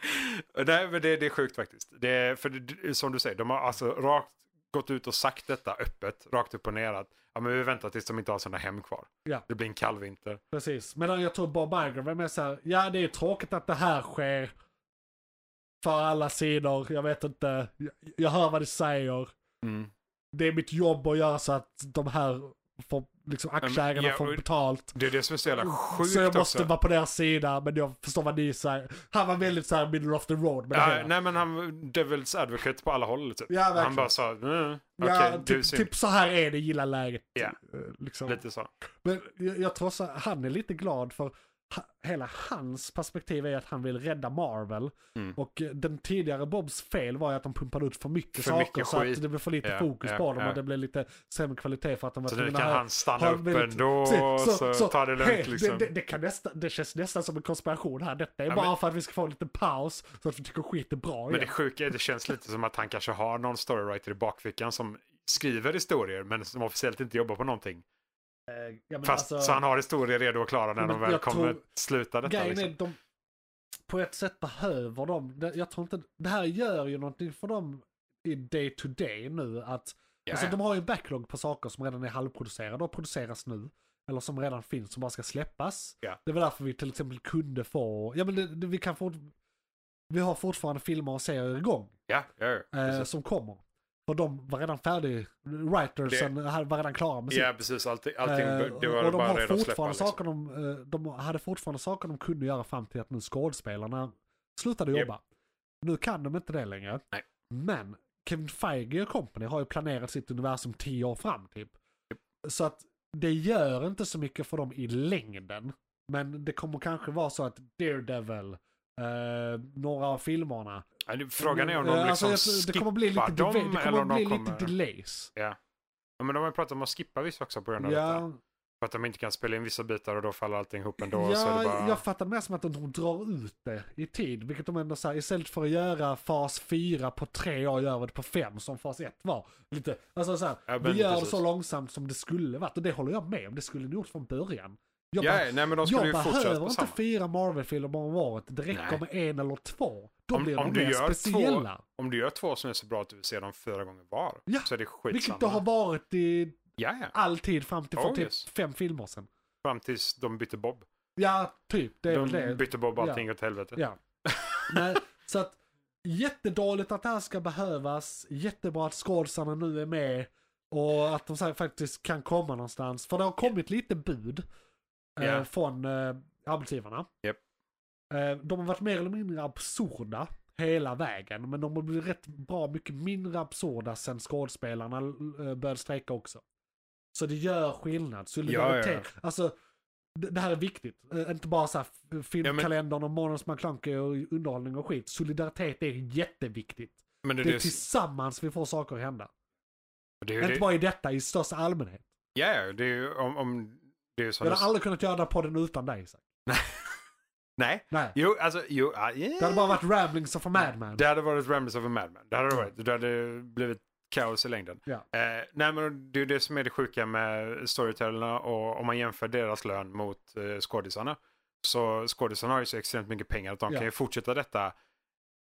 [SPEAKER 4] Nej, men det, det är sjukt faktiskt. Det är, för det, som du säger, de har alltså rakt gått ut och sagt detta öppet, rakt upp och ner att ja, men vi väntar tills de inte har sina hem kvar.
[SPEAKER 3] Ja.
[SPEAKER 4] Det blir en kall vinter.
[SPEAKER 3] Precis. Medan jag tror Bob Iger var med så här, ja det är tråkigt att det här sker. För alla sidor, jag vet inte, jag, jag hör vad du säger. Mm. Det är mitt jobb att göra så att de här, får, liksom aktieägarna
[SPEAKER 4] ja,
[SPEAKER 3] får
[SPEAKER 4] och-
[SPEAKER 3] betalt.
[SPEAKER 4] Det är det som är så jävla sjukt
[SPEAKER 3] Så jag måste
[SPEAKER 4] också.
[SPEAKER 3] vara på deras sida, men jag förstår vad ni säger. Han var väldigt såhär middle of the road med det
[SPEAKER 4] Ja,
[SPEAKER 3] hela.
[SPEAKER 4] nej men han var devil's advocate på alla håll typ.
[SPEAKER 3] Ja, verkligen.
[SPEAKER 4] han bara sa, mm, okej,
[SPEAKER 3] ja,
[SPEAKER 4] du är
[SPEAKER 3] typ,
[SPEAKER 4] synd.
[SPEAKER 3] typ så här är det, gilla läget.
[SPEAKER 4] Ja.
[SPEAKER 3] Eh, Liksom.
[SPEAKER 4] Lite så.
[SPEAKER 3] Men jag, jag tror så han är lite glad för ha, hela hans perspektiv är att han vill rädda Marvel.
[SPEAKER 4] Mm.
[SPEAKER 3] Och eh, den tidigare Bobs fel var ju att de pumpade ut för mycket
[SPEAKER 4] För
[SPEAKER 3] saker
[SPEAKER 4] mycket
[SPEAKER 3] så
[SPEAKER 4] skit.
[SPEAKER 3] att det blev för lite
[SPEAKER 4] Ja,
[SPEAKER 3] fokus
[SPEAKER 4] ja,
[SPEAKER 3] på dem
[SPEAKER 4] ja.
[SPEAKER 3] och det blev lite sämre kvalitet för att de var
[SPEAKER 4] Så nu
[SPEAKER 3] tvungna
[SPEAKER 4] kan
[SPEAKER 3] att-
[SPEAKER 4] han stanna
[SPEAKER 3] har
[SPEAKER 4] upp
[SPEAKER 3] väldigt-
[SPEAKER 4] ändå, så,
[SPEAKER 3] Precis,
[SPEAKER 4] ta det
[SPEAKER 3] hej,
[SPEAKER 4] lugnt liksom.
[SPEAKER 3] Det, det, det, kan nästa, det känns nästan som en konspiration här. Detta är
[SPEAKER 4] Ja,
[SPEAKER 3] bara
[SPEAKER 4] men-
[SPEAKER 3] för att vi ska få en liten paus så att vi tycker skit är bra
[SPEAKER 4] Men det
[SPEAKER 3] igen.
[SPEAKER 4] sjuka är, det känns lite som att han kanske har någon storywriter i bakfickan som skriver historier men som officiellt inte jobbar på någonting.
[SPEAKER 3] Eh, ja, men
[SPEAKER 4] Fast,
[SPEAKER 3] alltså,
[SPEAKER 4] så han har historier redo och klara när
[SPEAKER 3] Men
[SPEAKER 4] de väl
[SPEAKER 3] jag
[SPEAKER 4] kommer
[SPEAKER 3] tror-
[SPEAKER 4] sluta detta.
[SPEAKER 3] grejen
[SPEAKER 4] Liksom.
[SPEAKER 3] är, de, på ett sätt behöver de, det- jag tror inte, det här gör ju någonting för dem i day to day nu att,
[SPEAKER 4] Ja,
[SPEAKER 3] alltså
[SPEAKER 4] ja.
[SPEAKER 3] de har ju en backlog på saker som redan är halvproducerade och produceras nu. Eller som redan finns, som bara ska släppas.
[SPEAKER 4] Ja.
[SPEAKER 3] Det var därför vi till exempel kunde få, ja men det, det, vi kan fort, vi har fortfarande filmer och serier igång.
[SPEAKER 4] Ja, ja, ja.
[SPEAKER 3] eh,
[SPEAKER 4] Precis.
[SPEAKER 3] som kommer. För de var redan färdig, writersen hade- var redan klara med sitt.
[SPEAKER 4] ja, precis. Allting, allting
[SPEAKER 3] Eh,
[SPEAKER 4] det var
[SPEAKER 3] och de
[SPEAKER 4] bara
[SPEAKER 3] har
[SPEAKER 4] redo att
[SPEAKER 3] fortfarande
[SPEAKER 4] släppa. Liksom.
[SPEAKER 3] saker de, eh, de hade fortfarande saker de kunde göra fram till att nu skådespelarna slutade
[SPEAKER 4] Japp.
[SPEAKER 3] jobba. Nu kan de inte det längre.
[SPEAKER 4] Nej.
[SPEAKER 3] Men Kevin Feige och company har ju planerat sitt universum tio år fram typ. Så att det gör inte så mycket för dem i längden. Men det kommer kanske vara så att Daredevil, eh, några av filmerna.
[SPEAKER 4] Ja, det- Frågan är om de
[SPEAKER 3] Eh,
[SPEAKER 4] liksom
[SPEAKER 3] alltså, jag tror-
[SPEAKER 4] skippar
[SPEAKER 3] Det kommer bli lite, delay-
[SPEAKER 4] dem
[SPEAKER 3] det
[SPEAKER 4] eller
[SPEAKER 3] kommer
[SPEAKER 4] om de
[SPEAKER 3] bli
[SPEAKER 4] kommer...
[SPEAKER 3] lite delays.
[SPEAKER 4] Ja, men de har ju pratat om att skippa vissa också på grund av detta.
[SPEAKER 3] Ja,
[SPEAKER 4] För att de inte kan spela in vissa bitar och då faller allting ihop ändå. så är
[SPEAKER 3] ja,
[SPEAKER 4] det bara...
[SPEAKER 3] jag fattar mer som att de drar ut det i tid. Vilket de ändå säger, istället för att göra fas 4 på tre år gör vi det på fem som fas 1 var. Lite, alltså så här,
[SPEAKER 4] Ja, men
[SPEAKER 3] vi gör det
[SPEAKER 4] precis.
[SPEAKER 3] så långsamt som det skulle varit. Och det håller jag med om, det skulle ni gjort från början. Jag,
[SPEAKER 4] Ja,
[SPEAKER 3] bara-
[SPEAKER 4] nej, men de skulle
[SPEAKER 3] jag
[SPEAKER 4] ju fortsätta
[SPEAKER 3] behöver
[SPEAKER 4] på
[SPEAKER 3] inte
[SPEAKER 4] samma.
[SPEAKER 3] fyra Marvel-filmer om året, det räcker
[SPEAKER 4] Nej.
[SPEAKER 3] med en eller två. Då
[SPEAKER 4] Om-
[SPEAKER 3] blir de
[SPEAKER 4] om du
[SPEAKER 3] mer
[SPEAKER 4] gör två-
[SPEAKER 3] speciella.
[SPEAKER 4] Om du gör två som är så bra att du vill se dem fyra gånger var
[SPEAKER 3] Ja,
[SPEAKER 4] så är det skitsamma.
[SPEAKER 3] Vilket det har varit i
[SPEAKER 4] Ja, ja.
[SPEAKER 3] all tid fram till för
[SPEAKER 4] Oh,
[SPEAKER 3] typ
[SPEAKER 4] yes.
[SPEAKER 3] fem filmer sen.
[SPEAKER 4] Fram tills de bytte Bob.
[SPEAKER 3] Ja, typ. Det är väl det.
[SPEAKER 4] De bytte Bob allting åt helvete.
[SPEAKER 3] Ja. Nej, så att jättedåligt att det här ska behövas. Jättebra att skådisarna nu är med. Och att de så här faktiskt kan komma någonstans. För det har kommit lite bud eh,
[SPEAKER 4] Ja.
[SPEAKER 3] från eh, arbetsgivarna.
[SPEAKER 4] Japp.
[SPEAKER 3] Eh, de har varit mer eller mindre absurda hela vägen. Men de har blivit rätt bra mycket mindre absurda sen skådespelarna eh, började strejka också. Så det gör skillnad. Solidaritet.
[SPEAKER 4] Ja, ja,
[SPEAKER 3] Alltså, det det här är viktigt. Eh, Inte bara så här f- filmkalendern och Månadens McKlunky och underhållning och skit. Solidaritet är jätteviktigt.
[SPEAKER 4] Men det,
[SPEAKER 3] Det
[SPEAKER 4] det,
[SPEAKER 3] är tillsammans vi får saker att hända.
[SPEAKER 4] det, är ju
[SPEAKER 3] Inte
[SPEAKER 4] det,
[SPEAKER 3] bara i detta, i största allmänhet.
[SPEAKER 4] ja, ja, det är ju om, om det är ju som
[SPEAKER 3] Jag
[SPEAKER 4] du,
[SPEAKER 3] hade aldrig kunnat göra den här podden utan dig. Isak.
[SPEAKER 4] Nej,
[SPEAKER 3] Nej.
[SPEAKER 4] jo, alltså, jo, ah, yeah.
[SPEAKER 3] Det hade bara varit ramblings of a madman.
[SPEAKER 4] Det hade varit Ramblers of a Madman. Det hade det varit. Det hade blivit kaos i längden.
[SPEAKER 3] Ja.
[SPEAKER 4] Eh, nej, men det är ju det som är det sjuka med storytellerna och om man jämför deras lön mot eh, skådisarna. Så skådisarna har ju så extremt mycket pengar att de
[SPEAKER 3] Ja.
[SPEAKER 4] kan ju fortsätta detta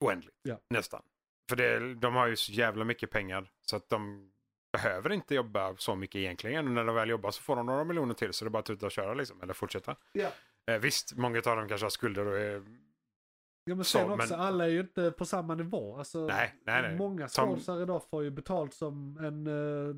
[SPEAKER 4] oändligt.
[SPEAKER 3] Ja.
[SPEAKER 4] Nästan. För det, de har ju så jävla mycket pengar så att de behöver inte jobba så mycket egentligen. Och när de väl jobbar så får de några miljoner till så det är bara att tuta och köra liksom. Eller fortsätta.
[SPEAKER 3] Ja.
[SPEAKER 4] Eh, visst, många av dem kanske har skulder och är
[SPEAKER 3] Ja men
[SPEAKER 4] Så,
[SPEAKER 3] sen också,
[SPEAKER 4] men-
[SPEAKER 3] alla är ju inte på samma nivå. Alltså,
[SPEAKER 4] Nej, nej, nej.
[SPEAKER 3] Många
[SPEAKER 4] Som-
[SPEAKER 3] skådisar idag får ju betalt som en eh,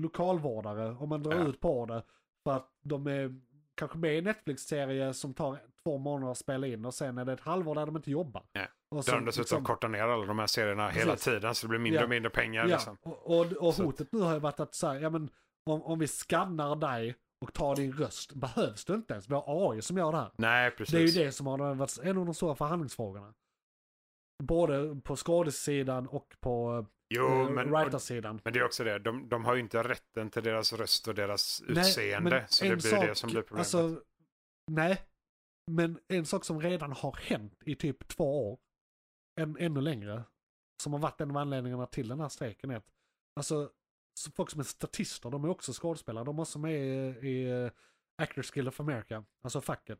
[SPEAKER 3] lokalvårdare om man drar
[SPEAKER 4] Ja.
[SPEAKER 3] ut på det. För att de är kanske med i en Netflix-serie som tar två månader att spela in och sen är det ett halvår där de inte jobbar.
[SPEAKER 4] Ja.
[SPEAKER 3] Och
[SPEAKER 4] Där
[SPEAKER 3] sen
[SPEAKER 4] de dessutom
[SPEAKER 3] liksom-
[SPEAKER 4] kortar ner alla de här serierna hela
[SPEAKER 3] Precis.
[SPEAKER 4] tiden så det blir mindre
[SPEAKER 3] Ja.
[SPEAKER 4] och mindre pengar.
[SPEAKER 3] Ja,
[SPEAKER 4] Liksom.
[SPEAKER 3] och, och, och
[SPEAKER 4] Så att-
[SPEAKER 3] hotet nu har ju varit att så här, ja men om, om vi skannar dig och tar din röst behövs det inte ens. Vi har AI som gör det här.
[SPEAKER 4] Nej, precis.
[SPEAKER 3] Det är ju det som har varit en av de stora förhandlingsfrågorna. Både på skådesidan och på
[SPEAKER 4] Jo,
[SPEAKER 3] eh,
[SPEAKER 4] men, och,
[SPEAKER 3] writersidan.
[SPEAKER 4] men det är också det. De, de har ju inte rätten till deras röst och deras
[SPEAKER 3] Nej,
[SPEAKER 4] utseende.
[SPEAKER 3] men
[SPEAKER 4] så det
[SPEAKER 3] en
[SPEAKER 4] blir det
[SPEAKER 3] sak-
[SPEAKER 4] som blir problemet.
[SPEAKER 3] Alltså, nej, men en sak som redan har hänt i typ två år, än, ännu längre, som har varit en av anledningarna till den här strejken är att, alltså, så folk som är statister, de är också skådespelare, de är också med i, i eh, Actors Guild of America, alltså facket.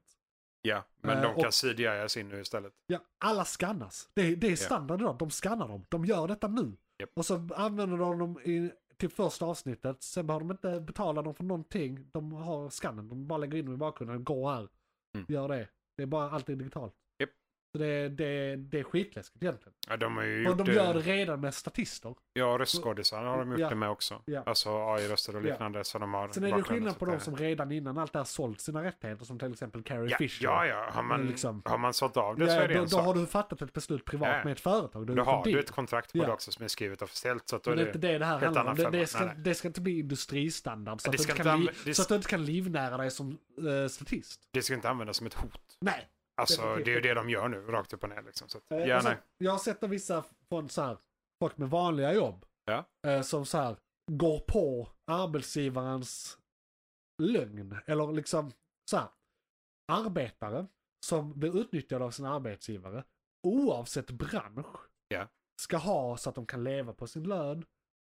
[SPEAKER 4] ja, men
[SPEAKER 3] eh,
[SPEAKER 4] de kan
[SPEAKER 3] och-
[SPEAKER 4] CGI-as in nu istället.
[SPEAKER 3] Ja, alla skannas. Det, det är standard idag, de skannar dem, de gör detta nu.
[SPEAKER 4] Japp.
[SPEAKER 3] Och så använder de dem i, till första avsnittet, sen behöver de inte betala dem för någonting, de har skannen, de bara lägger in dem i bakgrunden, gå här,
[SPEAKER 4] Mm.
[SPEAKER 3] gör det. Det är bara allting digitalt.
[SPEAKER 4] Japp.
[SPEAKER 3] Så det, det, det är skitläskigt egentligen.
[SPEAKER 4] Ja, de har ju
[SPEAKER 3] Och
[SPEAKER 4] gjort
[SPEAKER 3] de
[SPEAKER 4] det.
[SPEAKER 3] gör det redan med statister.
[SPEAKER 4] Ja, röstskådisar har de gjort
[SPEAKER 3] Ja.
[SPEAKER 4] det med också.
[SPEAKER 3] Ja.
[SPEAKER 4] Alltså AI-röster och
[SPEAKER 3] Ja.
[SPEAKER 4] liknande. Så de har
[SPEAKER 3] Sen är det
[SPEAKER 4] bakgrunden,
[SPEAKER 3] skillnad
[SPEAKER 4] så
[SPEAKER 3] på
[SPEAKER 4] att
[SPEAKER 3] de
[SPEAKER 4] det-
[SPEAKER 3] som redan innan allt det här sålt sina rättigheter, som till exempel Carrie
[SPEAKER 4] Ja,
[SPEAKER 3] Fisher.
[SPEAKER 4] ja, ja. Har man,
[SPEAKER 3] liksom-
[SPEAKER 4] har man sålt av det så
[SPEAKER 3] Ja,
[SPEAKER 4] är det
[SPEAKER 3] då,
[SPEAKER 4] en
[SPEAKER 3] då har
[SPEAKER 4] sak.
[SPEAKER 3] du fattat ett beslut privat
[SPEAKER 4] Ja.
[SPEAKER 3] med ett företag. Då, är
[SPEAKER 4] Då
[SPEAKER 3] det för
[SPEAKER 4] har du
[SPEAKER 3] dyrt.
[SPEAKER 4] ett kontrakt på
[SPEAKER 3] Ja.
[SPEAKER 4] det också som är skrivet officiellt. Så att då
[SPEAKER 3] Men
[SPEAKER 4] är
[SPEAKER 3] det är inte
[SPEAKER 4] det...
[SPEAKER 3] det det här
[SPEAKER 4] helt
[SPEAKER 3] handlar om.
[SPEAKER 4] annan
[SPEAKER 3] Det,
[SPEAKER 4] femma.
[SPEAKER 3] det, ska,
[SPEAKER 4] Nej, nej.
[SPEAKER 3] det ska inte bli industristandard så,
[SPEAKER 4] Det
[SPEAKER 3] att du,
[SPEAKER 4] ska
[SPEAKER 3] inte
[SPEAKER 4] inte
[SPEAKER 3] kan li-
[SPEAKER 4] anvä- det-
[SPEAKER 3] så att du inte kan livnära dig som eh, statist.
[SPEAKER 4] det ska inte användas som ett hot.
[SPEAKER 3] Nej.
[SPEAKER 4] Alltså,
[SPEAKER 3] Definitivt
[SPEAKER 4] det är ju
[SPEAKER 3] inte.
[SPEAKER 4] det de gör nu, rakt upp och ner. Liksom. Så att,
[SPEAKER 3] Eh,
[SPEAKER 4] ja,
[SPEAKER 3] och så-
[SPEAKER 4] nej.
[SPEAKER 3] Jag har sett att vissa från så här, folk med vanliga jobb
[SPEAKER 4] Ja.
[SPEAKER 3] eh, som så här, går på arbetsgivarens lögn. Eller liksom så här, arbetare som blir utnyttjade av sin arbetsgivare oavsett bransch
[SPEAKER 4] Ja.
[SPEAKER 3] ska ha så att de kan leva på sin lön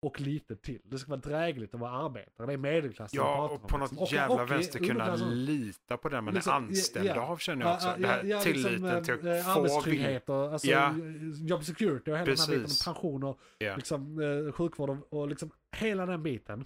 [SPEAKER 3] och lite till. Det ska vara drägligt att vara arbetare. Det är medelklassen vi
[SPEAKER 4] Ja,
[SPEAKER 3] pratar
[SPEAKER 4] och
[SPEAKER 3] om,
[SPEAKER 4] på
[SPEAKER 3] liksom.
[SPEAKER 4] något jävla
[SPEAKER 3] och-
[SPEAKER 4] vänster kunna
[SPEAKER 3] underklassen.
[SPEAKER 4] lita på det man är
[SPEAKER 3] Liksom, ja,
[SPEAKER 4] anställd
[SPEAKER 3] ja.
[SPEAKER 4] av känner jag också.
[SPEAKER 3] Ja,
[SPEAKER 4] Det här
[SPEAKER 3] ja, ja, liksom,
[SPEAKER 4] tilliten till
[SPEAKER 3] eh,
[SPEAKER 4] att få vill.
[SPEAKER 3] Arbetstrygghet och alltså,
[SPEAKER 4] Ja.
[SPEAKER 3] job security och hela den här biten.
[SPEAKER 4] Precis.
[SPEAKER 3] Pension och
[SPEAKER 4] Ja.
[SPEAKER 3] liksom, eh, sjukvård och, och liksom hela den biten.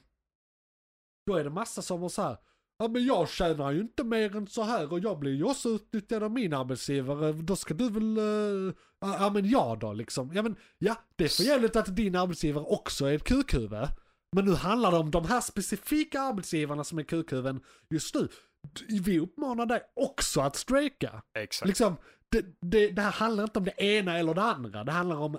[SPEAKER 3] Då är det massa som har så här. Ja men jag tjänar ju inte mer än så här och jag blir ju också utnyttjad av min arbetsgivare. Då ska du väl... eh, ja ja, men jag då liksom. Ja men ja, det är för jävligt att din arbetsgivare också är ett kukhuvud. Men nu handlar det om de här specifika arbetsgivarna som är kukhuvuden just nu. D- Vi uppmanar dig också att strejka.
[SPEAKER 4] Exakt.
[SPEAKER 3] Liksom, det, det, det här handlar inte om det ena eller det andra. Det handlar om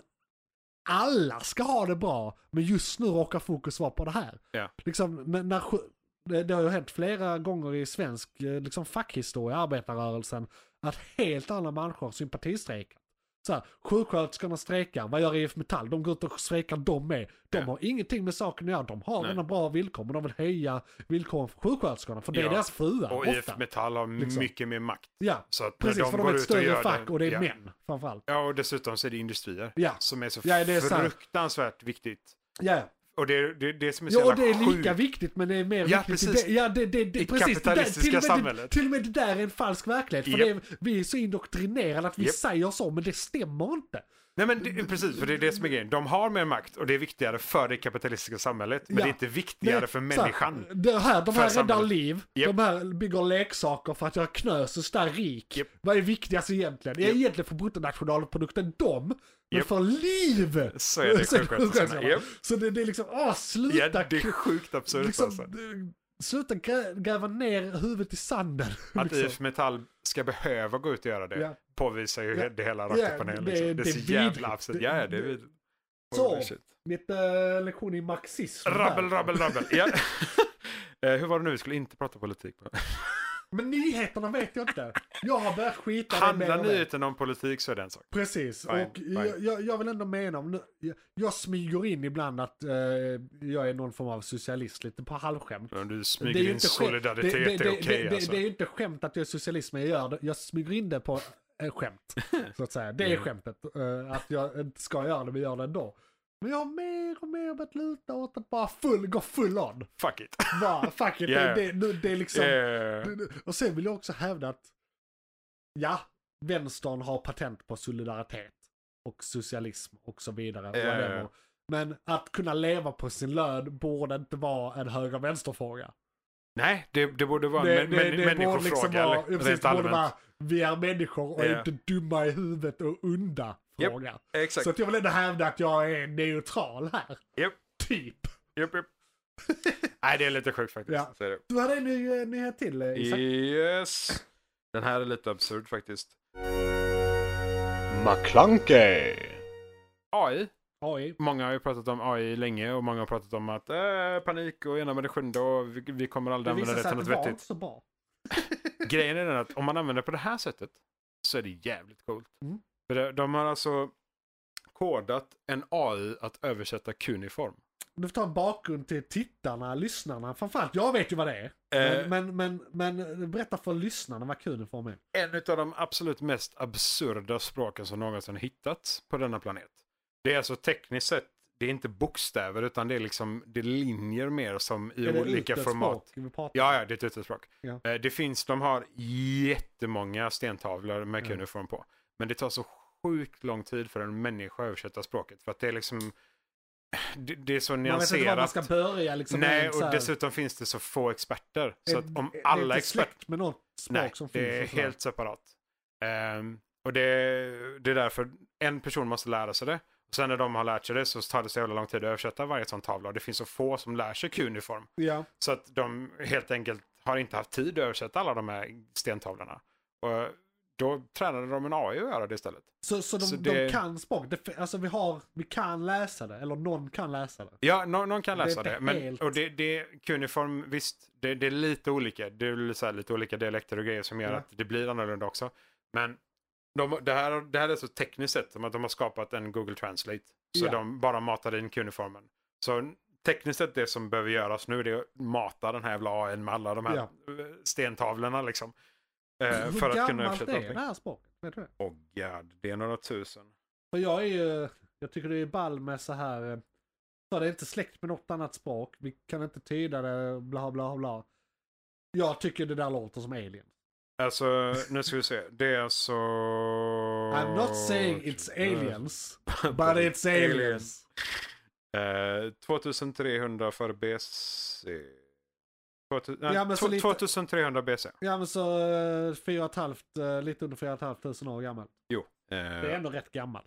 [SPEAKER 3] alla ska ha det bra, men just nu råkar fokus vara på det här.
[SPEAKER 4] Ja.
[SPEAKER 3] Liksom, men när, sj- det, det har ju hänt flera gånger i svensk eh, liksom, fackhistoria, arbetarrörelsen, att helt andra människor sympatistrejkar. Så här, sjuksköterskorna strejkar, vad gör IF Metall? De går ut och strejkar de med. De
[SPEAKER 4] Ja.
[SPEAKER 3] har ingenting med saken att göra, de har
[SPEAKER 4] Nej.
[SPEAKER 3] redan bra villkor, men de vill höja villkoren för sjuksköterskorna, för det är
[SPEAKER 4] Ja.
[SPEAKER 3] deras fruar
[SPEAKER 4] Och
[SPEAKER 3] ofta.
[SPEAKER 4] IF Metall har
[SPEAKER 3] liksom.
[SPEAKER 4] mycket mer makt.
[SPEAKER 3] ja.
[SPEAKER 4] Så att när
[SPEAKER 3] Precis,
[SPEAKER 4] de
[SPEAKER 3] för de
[SPEAKER 4] går
[SPEAKER 3] är ett
[SPEAKER 4] ut och
[SPEAKER 3] större
[SPEAKER 4] gör
[SPEAKER 3] fack och det är
[SPEAKER 4] ja.
[SPEAKER 3] män framförallt.
[SPEAKER 4] Ja, och dessutom så är det industrier.
[SPEAKER 3] Ja.
[SPEAKER 4] Som är så
[SPEAKER 3] Ja, det är sant.
[SPEAKER 4] fruktansvärt viktigt.
[SPEAKER 3] Ja,
[SPEAKER 4] Och det är det, är det som är så
[SPEAKER 3] ja och det
[SPEAKER 4] jävla
[SPEAKER 3] är lika
[SPEAKER 4] sjukt.
[SPEAKER 3] viktigt men det är mer
[SPEAKER 4] Ja,
[SPEAKER 3] viktigt. i
[SPEAKER 4] precis.
[SPEAKER 3] Det, ja, det, det, det,
[SPEAKER 4] I
[SPEAKER 3] precis. Det där-
[SPEAKER 4] kapitalistiska
[SPEAKER 3] till och med det-
[SPEAKER 4] samhället.
[SPEAKER 3] Till och med det där är en falsk verklighet. För
[SPEAKER 4] Japp.
[SPEAKER 3] det är, vi är så indoktrinerade att vi
[SPEAKER 4] Japp.
[SPEAKER 3] säger så, men det stämmer inte.
[SPEAKER 4] Nej men det, precis, för det är det som är grejen. De har mer makt och det är viktigare för det kapitalistiska samhället. Men
[SPEAKER 3] Ja.
[SPEAKER 4] det är inte viktigare
[SPEAKER 3] Nej,
[SPEAKER 4] för
[SPEAKER 3] så här,
[SPEAKER 4] människan.
[SPEAKER 3] Det här, de
[SPEAKER 4] För
[SPEAKER 3] här räddar
[SPEAKER 4] samhället.
[SPEAKER 3] liv,
[SPEAKER 4] Japp.
[SPEAKER 3] de här bygger leksaker för att jag är knös och så där rik.
[SPEAKER 4] Japp.
[SPEAKER 3] Vad är viktigast egentligen? Är
[SPEAKER 4] Japp.
[SPEAKER 3] egentligen för bruttonationalprodukten dem, men
[SPEAKER 4] Japp.
[SPEAKER 3] för liv!
[SPEAKER 4] Så är det sjuksköterskorna. Japp.
[SPEAKER 3] Så det, det är liksom, åh
[SPEAKER 4] Ja,
[SPEAKER 3] sluta!
[SPEAKER 4] det är sjukt absurt
[SPEAKER 3] liksom,
[SPEAKER 4] alltså.
[SPEAKER 3] eh, Sluta grä, gräva ner huvudet i sanden. liksom.
[SPEAKER 4] Att IF Metall ska behöva gå ut och göra det
[SPEAKER 3] Ja.
[SPEAKER 4] påvisar ju
[SPEAKER 3] Ja.
[SPEAKER 4] det hela rakt
[SPEAKER 3] Ja,
[SPEAKER 4] upp och ner.
[SPEAKER 3] det-
[SPEAKER 4] Liksom. Det,
[SPEAKER 3] det
[SPEAKER 4] är
[SPEAKER 3] är
[SPEAKER 4] så jävla
[SPEAKER 3] vidrigt.
[SPEAKER 4] absurt.
[SPEAKER 3] Det-
[SPEAKER 4] Ja, ja, det är
[SPEAKER 3] det-
[SPEAKER 4] vidrigt.
[SPEAKER 3] Så.
[SPEAKER 4] Holy shit.
[SPEAKER 3] Mitt eh, lektion i marxism.
[SPEAKER 4] Rabbel,
[SPEAKER 3] där.
[SPEAKER 4] rabbel, rabbel. Ja. Eh, Hur var det nu? Vi skulle inte prata politik. va?
[SPEAKER 3] Men nyheterna vet jag inte. Jag har börjat skita i det mer
[SPEAKER 4] Handlar
[SPEAKER 3] och mer.
[SPEAKER 4] nyheten om politik så är det en sak.
[SPEAKER 3] Precis,
[SPEAKER 4] Fine,
[SPEAKER 3] och
[SPEAKER 4] fine.
[SPEAKER 3] jag- Jag, jag vill ändå mena om, nu- jag, jag smyger in ibland att eh, jag är någon form av socialist lite på halvskämt.
[SPEAKER 4] Men du
[SPEAKER 3] Det är
[SPEAKER 4] smyger
[SPEAKER 3] ju
[SPEAKER 4] in
[SPEAKER 3] inte skämt-
[SPEAKER 4] solidaritet,
[SPEAKER 3] det- det-
[SPEAKER 4] det, är okej
[SPEAKER 3] det- det-
[SPEAKER 4] alltså.
[SPEAKER 3] Det är ju inte skämt att jag är socialist, men jag gör det. Jag smyger in det på eh, skämt. Så att säga. Det är
[SPEAKER 4] Mm.
[SPEAKER 3] skämtet. eh, att jag inte ska göra det, men jag gör det ändå. Men jag har mer och mer börjat luta åt att bara full, gå full on.
[SPEAKER 4] Fuck it.
[SPEAKER 3] Bara, fuck it,
[SPEAKER 4] Yeah.
[SPEAKER 3] det, det, det är liksom...
[SPEAKER 4] Eh,
[SPEAKER 3] Och sen vill jag också hävda att ja, vänstern har patent på solidaritet och socialism och så vidare.
[SPEAKER 4] Ja, ja, ja.
[SPEAKER 3] whatever. Men att kunna leva på sin lön borde inte vara en höger-vänster-fråga.
[SPEAKER 4] nej, det, det borde vara
[SPEAKER 3] Det,
[SPEAKER 4] en men,
[SPEAKER 3] det, det
[SPEAKER 4] människofråga
[SPEAKER 3] borde liksom
[SPEAKER 4] eller,
[SPEAKER 3] vara, ja, precis,
[SPEAKER 4] rent
[SPEAKER 3] det borde
[SPEAKER 4] allmänt.
[SPEAKER 3] vara vi är människor och
[SPEAKER 4] Ja.
[SPEAKER 3] är inte dumma i huvudet och onda
[SPEAKER 4] Japp,
[SPEAKER 3] fråga.
[SPEAKER 4] Exakt.
[SPEAKER 3] Så att jag vill ändå hävda att jag är neutral här.
[SPEAKER 4] Japp.
[SPEAKER 3] Typ.
[SPEAKER 4] Japp, japp. nej, det är lite sjukt faktiskt.
[SPEAKER 3] Ja.
[SPEAKER 4] Så är det.
[SPEAKER 3] Du hade en ny, eh, nyhet till eh, Isak.
[SPEAKER 4] Yes. Den här är lite absurd faktiskt.
[SPEAKER 5] McClunkey!
[SPEAKER 4] AI
[SPEAKER 3] AI.
[SPEAKER 4] Många har ju pratat om AI länge och många har pratat om att eh, panik och ena med det sjunde och vi, vi kommer aldrig
[SPEAKER 3] Det
[SPEAKER 4] använda
[SPEAKER 3] visar
[SPEAKER 4] det
[SPEAKER 3] sig att
[SPEAKER 4] till något
[SPEAKER 3] det var
[SPEAKER 4] vettigt.
[SPEAKER 3] inte så bra.
[SPEAKER 4] Grejen är den att om man använder det på det här sättet så är det jävligt coolt.
[SPEAKER 3] Mm.
[SPEAKER 4] För det, de har alltså kodat en AI att översätta kuniform.
[SPEAKER 3] Du får ta en bakgrund till tittarna, lyssnarna. Framförallt, jag vet ju vad det är.
[SPEAKER 4] Eh.
[SPEAKER 3] Men, men, men, men eh, berätta för lyssnarna vad kuniform är.
[SPEAKER 4] En av de absolut mest absurda språken som någonsin hittats på denna planet. Det är alltså tekniskt sett, det är inte bokstäver utan det är liksom det är linjer mer som i
[SPEAKER 3] Är det
[SPEAKER 4] olika
[SPEAKER 3] utdött
[SPEAKER 4] format.
[SPEAKER 3] språk vi pratar om?
[SPEAKER 4] Ja, ja, det är ett utespråk.
[SPEAKER 3] Ja.
[SPEAKER 4] Eh, Det finns, de har jättemånga stentavlor med
[SPEAKER 3] Mm.
[SPEAKER 4] kuniform på. Men det tar så sjukt lång tid för en människa att översätta språket. För att det är liksom, det, det är så
[SPEAKER 3] Man vet inte var man
[SPEAKER 4] nyanserat.
[SPEAKER 3] ska börja liksom.
[SPEAKER 4] Nej,
[SPEAKER 3] rent så
[SPEAKER 4] och
[SPEAKER 3] här.
[SPEAKER 4] dessutom finns det så få experter. Så
[SPEAKER 3] Är-
[SPEAKER 4] att om
[SPEAKER 3] är det
[SPEAKER 4] alla
[SPEAKER 3] inte
[SPEAKER 4] experter...
[SPEAKER 3] släkt med något språk
[SPEAKER 4] Nej,
[SPEAKER 3] som finns.
[SPEAKER 4] det är
[SPEAKER 3] och sådär?
[SPEAKER 4] helt separat. Ehm, och det, det är därför en person måste lära sig det. Och sen när de har lärt sig det så tar det så jävla lång tid att översätta varje sån tavla. Och det finns så få som lär sig kuniform.
[SPEAKER 3] Ja.
[SPEAKER 4] Så att de helt enkelt har inte haft tid att översätta alla de här stentavlorna. Och då tränade de en AI att göra det istället.
[SPEAKER 3] Så, så, de,
[SPEAKER 4] Så det-
[SPEAKER 3] de kan språk. Det, alltså vi har, vi kan läsa det. Eller någon kan läsa det.
[SPEAKER 4] Ja, någon, någon kan
[SPEAKER 3] Det är
[SPEAKER 4] läsa det.
[SPEAKER 3] inte
[SPEAKER 4] Men,
[SPEAKER 3] helt-
[SPEAKER 4] och det, det kuniform, visst, det, det är lite olika. Det är så här, lite olika dialekter och grejer som gör
[SPEAKER 3] Ja.
[SPEAKER 4] att det blir annorlunda också. Men de, det, här, det här är så tekniskt sett som att de har skapat en Google Translate. Så
[SPEAKER 3] Ja.
[SPEAKER 4] de bara matar in kuniformen. Så tekniskt sett det som behöver göras nu det är att mata den här jävla AIn med alla de här
[SPEAKER 3] Ja.
[SPEAKER 4] eh, stentavlorna liksom. Eh,
[SPEAKER 3] Hur
[SPEAKER 4] för att kunna
[SPEAKER 3] gammalt
[SPEAKER 4] översätta
[SPEAKER 3] är
[SPEAKER 4] allting.
[SPEAKER 3] det här språket? Vet du det?
[SPEAKER 4] Åh god, det är några tusen.
[SPEAKER 3] För jag är ju, jag tycker det är ball med så här, eh, så det är inte släkt med något annat språk, vi kan inte tyda det, bla bla bla. Jag tycker det där låter som alien.
[SPEAKER 4] Alltså, nu ska vi se. Det är alltså...
[SPEAKER 3] I'm not saying it's aliens, but it's aliens.
[SPEAKER 4] Eh, 2300 för BC. 2000, nej,
[SPEAKER 3] Ja, men så
[SPEAKER 4] tw-
[SPEAKER 3] lite-
[SPEAKER 4] 2300 BC.
[SPEAKER 3] Ja men så eh, fyra och ett halvt, eh, lite under fyra och ett halvt tusen år gammalt.
[SPEAKER 4] Jo. Eh,
[SPEAKER 3] Det är ändå rätt gammalt.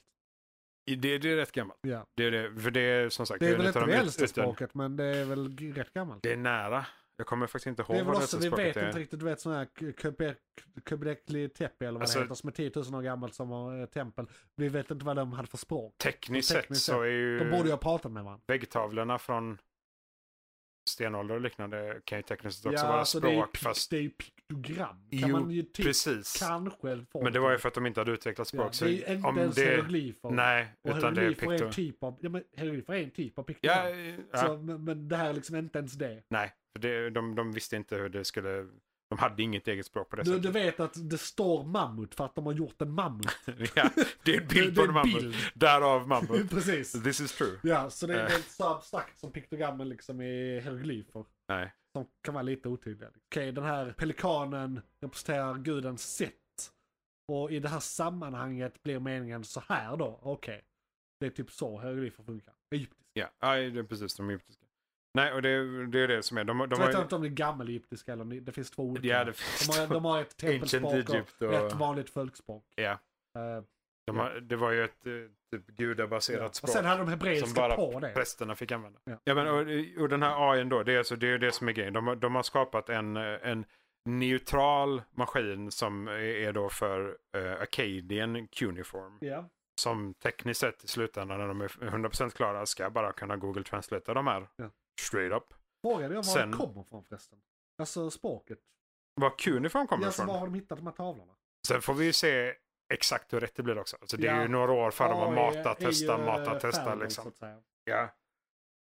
[SPEAKER 4] det, det är rätt gammalt.
[SPEAKER 3] Ja.
[SPEAKER 4] Det är det, för det är som sagt...
[SPEAKER 3] Det är väl
[SPEAKER 4] en utav
[SPEAKER 3] inte det
[SPEAKER 4] de ut-
[SPEAKER 3] äldsta
[SPEAKER 4] utan-
[SPEAKER 3] språket, men det är väl g- rätt gammalt.
[SPEAKER 4] Det är nära. Jag kommer faktiskt inte ihåg
[SPEAKER 3] Det är väl
[SPEAKER 4] vad det
[SPEAKER 3] också,
[SPEAKER 4] äldsta
[SPEAKER 3] vi
[SPEAKER 4] språket
[SPEAKER 3] vet
[SPEAKER 4] är.
[SPEAKER 3] inte riktigt, du vet sån här K- Köpek- Köpekli Tepe eller vad
[SPEAKER 4] Alltså-
[SPEAKER 3] det heter, som är 10 000 år gammalt som var eh, tempel. Vi vet inte vad de hade för språk.
[SPEAKER 4] Tekniskt sett
[SPEAKER 3] Tekniskt
[SPEAKER 4] så är
[SPEAKER 3] De borde ju
[SPEAKER 4] ju
[SPEAKER 3] ha pratat med varandra.
[SPEAKER 4] väggtavlorna från stenålder och liknande kan ju tekniskt sett också vara
[SPEAKER 3] alltså,
[SPEAKER 4] språk.
[SPEAKER 3] det är, ju pi-
[SPEAKER 4] fast
[SPEAKER 3] det är ju piktogram. Kan
[SPEAKER 4] Jo,
[SPEAKER 3] man ju typ
[SPEAKER 4] Precis.
[SPEAKER 3] kanske få.
[SPEAKER 4] Men det var ju för att de inte hade utvecklat
[SPEAKER 3] ja,
[SPEAKER 4] språk.
[SPEAKER 3] Det är ju
[SPEAKER 4] så
[SPEAKER 3] inte ens hieroglyfer.
[SPEAKER 4] Nej,
[SPEAKER 3] och
[SPEAKER 4] utan det är
[SPEAKER 3] hieroglyfer är
[SPEAKER 4] piktor.
[SPEAKER 3] en typ av, ja men hieroglyfer är en typ av piktogram.
[SPEAKER 4] Ja, eh,
[SPEAKER 3] Så,
[SPEAKER 4] ja,
[SPEAKER 3] men, men det här är liksom inte ens det.
[SPEAKER 4] nej, för det, de, de visste inte hur det skulle... De hade inget eget språk på det
[SPEAKER 3] Du,
[SPEAKER 4] sättet.
[SPEAKER 3] du vet att det står mammut för att de har gjort en mammut.
[SPEAKER 4] ja, det är en bild
[SPEAKER 3] Det- det
[SPEAKER 4] på en
[SPEAKER 3] är en
[SPEAKER 4] mammut.
[SPEAKER 3] bild.
[SPEAKER 4] Därav mammut.
[SPEAKER 3] Precis.
[SPEAKER 4] This is true.
[SPEAKER 3] Ja, så det
[SPEAKER 4] Eh.
[SPEAKER 3] är inte så abstrakt som piktogrammen liksom är hieroglyfer.
[SPEAKER 4] Nej.
[SPEAKER 3] Som kan vara lite otydliga. Okej, den här pelikanen representerar guden Set. Och i det här sammanhanget blir meningen så här då. Okej. Det är typ så hieroglyfer funkar. Egyptisk.
[SPEAKER 4] Ja, nej, det är precis de egyptiska. Nej, och det, det är det som är. De, de
[SPEAKER 3] så vet
[SPEAKER 4] har
[SPEAKER 3] jag
[SPEAKER 4] ju...
[SPEAKER 3] inte om det är gammelegyptiska eller om det- det finns två olika.
[SPEAKER 4] Ja, det
[SPEAKER 3] de, har,
[SPEAKER 4] finns
[SPEAKER 3] de har ett
[SPEAKER 4] Ancient
[SPEAKER 3] tempelspråk
[SPEAKER 4] Egypt
[SPEAKER 3] och
[SPEAKER 4] och-
[SPEAKER 3] ett vanligt folkspråk.
[SPEAKER 4] Ja.
[SPEAKER 3] Eh,
[SPEAKER 4] de har, det var ju ett eh, typ gudabaserat
[SPEAKER 3] ja. Och
[SPEAKER 4] språk.
[SPEAKER 3] sen hade de
[SPEAKER 4] Som
[SPEAKER 3] hebreiska
[SPEAKER 4] bara
[SPEAKER 3] på det.
[SPEAKER 4] prästerna fick använda. Ja.
[SPEAKER 3] Ja.
[SPEAKER 4] men, och, och den här AI då, det är, alltså, det är det som är grejen. De, har- de har skapat en, eh, en neutral maskin som är- är då för uh, Acadian Cuneiform.
[SPEAKER 3] Ja.
[SPEAKER 4] Som tekniskt sett i slutändan när de är 100% klara ska bara kunna Google Translate de här.
[SPEAKER 3] Ja.
[SPEAKER 4] Straight up.
[SPEAKER 3] Frågade jag var
[SPEAKER 4] Sen-
[SPEAKER 3] det kommer från förresten. Alltså språket.
[SPEAKER 4] Var Cuneiform kommer
[SPEAKER 3] Ja, så
[SPEAKER 4] ifrån.
[SPEAKER 3] var har de hittat de här tavlorna?
[SPEAKER 4] Sen får vi ju se exakt hur rätt det blir också. Så det är
[SPEAKER 3] Ja.
[SPEAKER 4] ju några år för de har
[SPEAKER 3] AI
[SPEAKER 4] matat,
[SPEAKER 3] är ju,
[SPEAKER 4] testa,
[SPEAKER 3] eh,
[SPEAKER 4] matat, testa
[SPEAKER 3] färgen,
[SPEAKER 4] liksom.
[SPEAKER 3] så att säga.
[SPEAKER 4] Ja.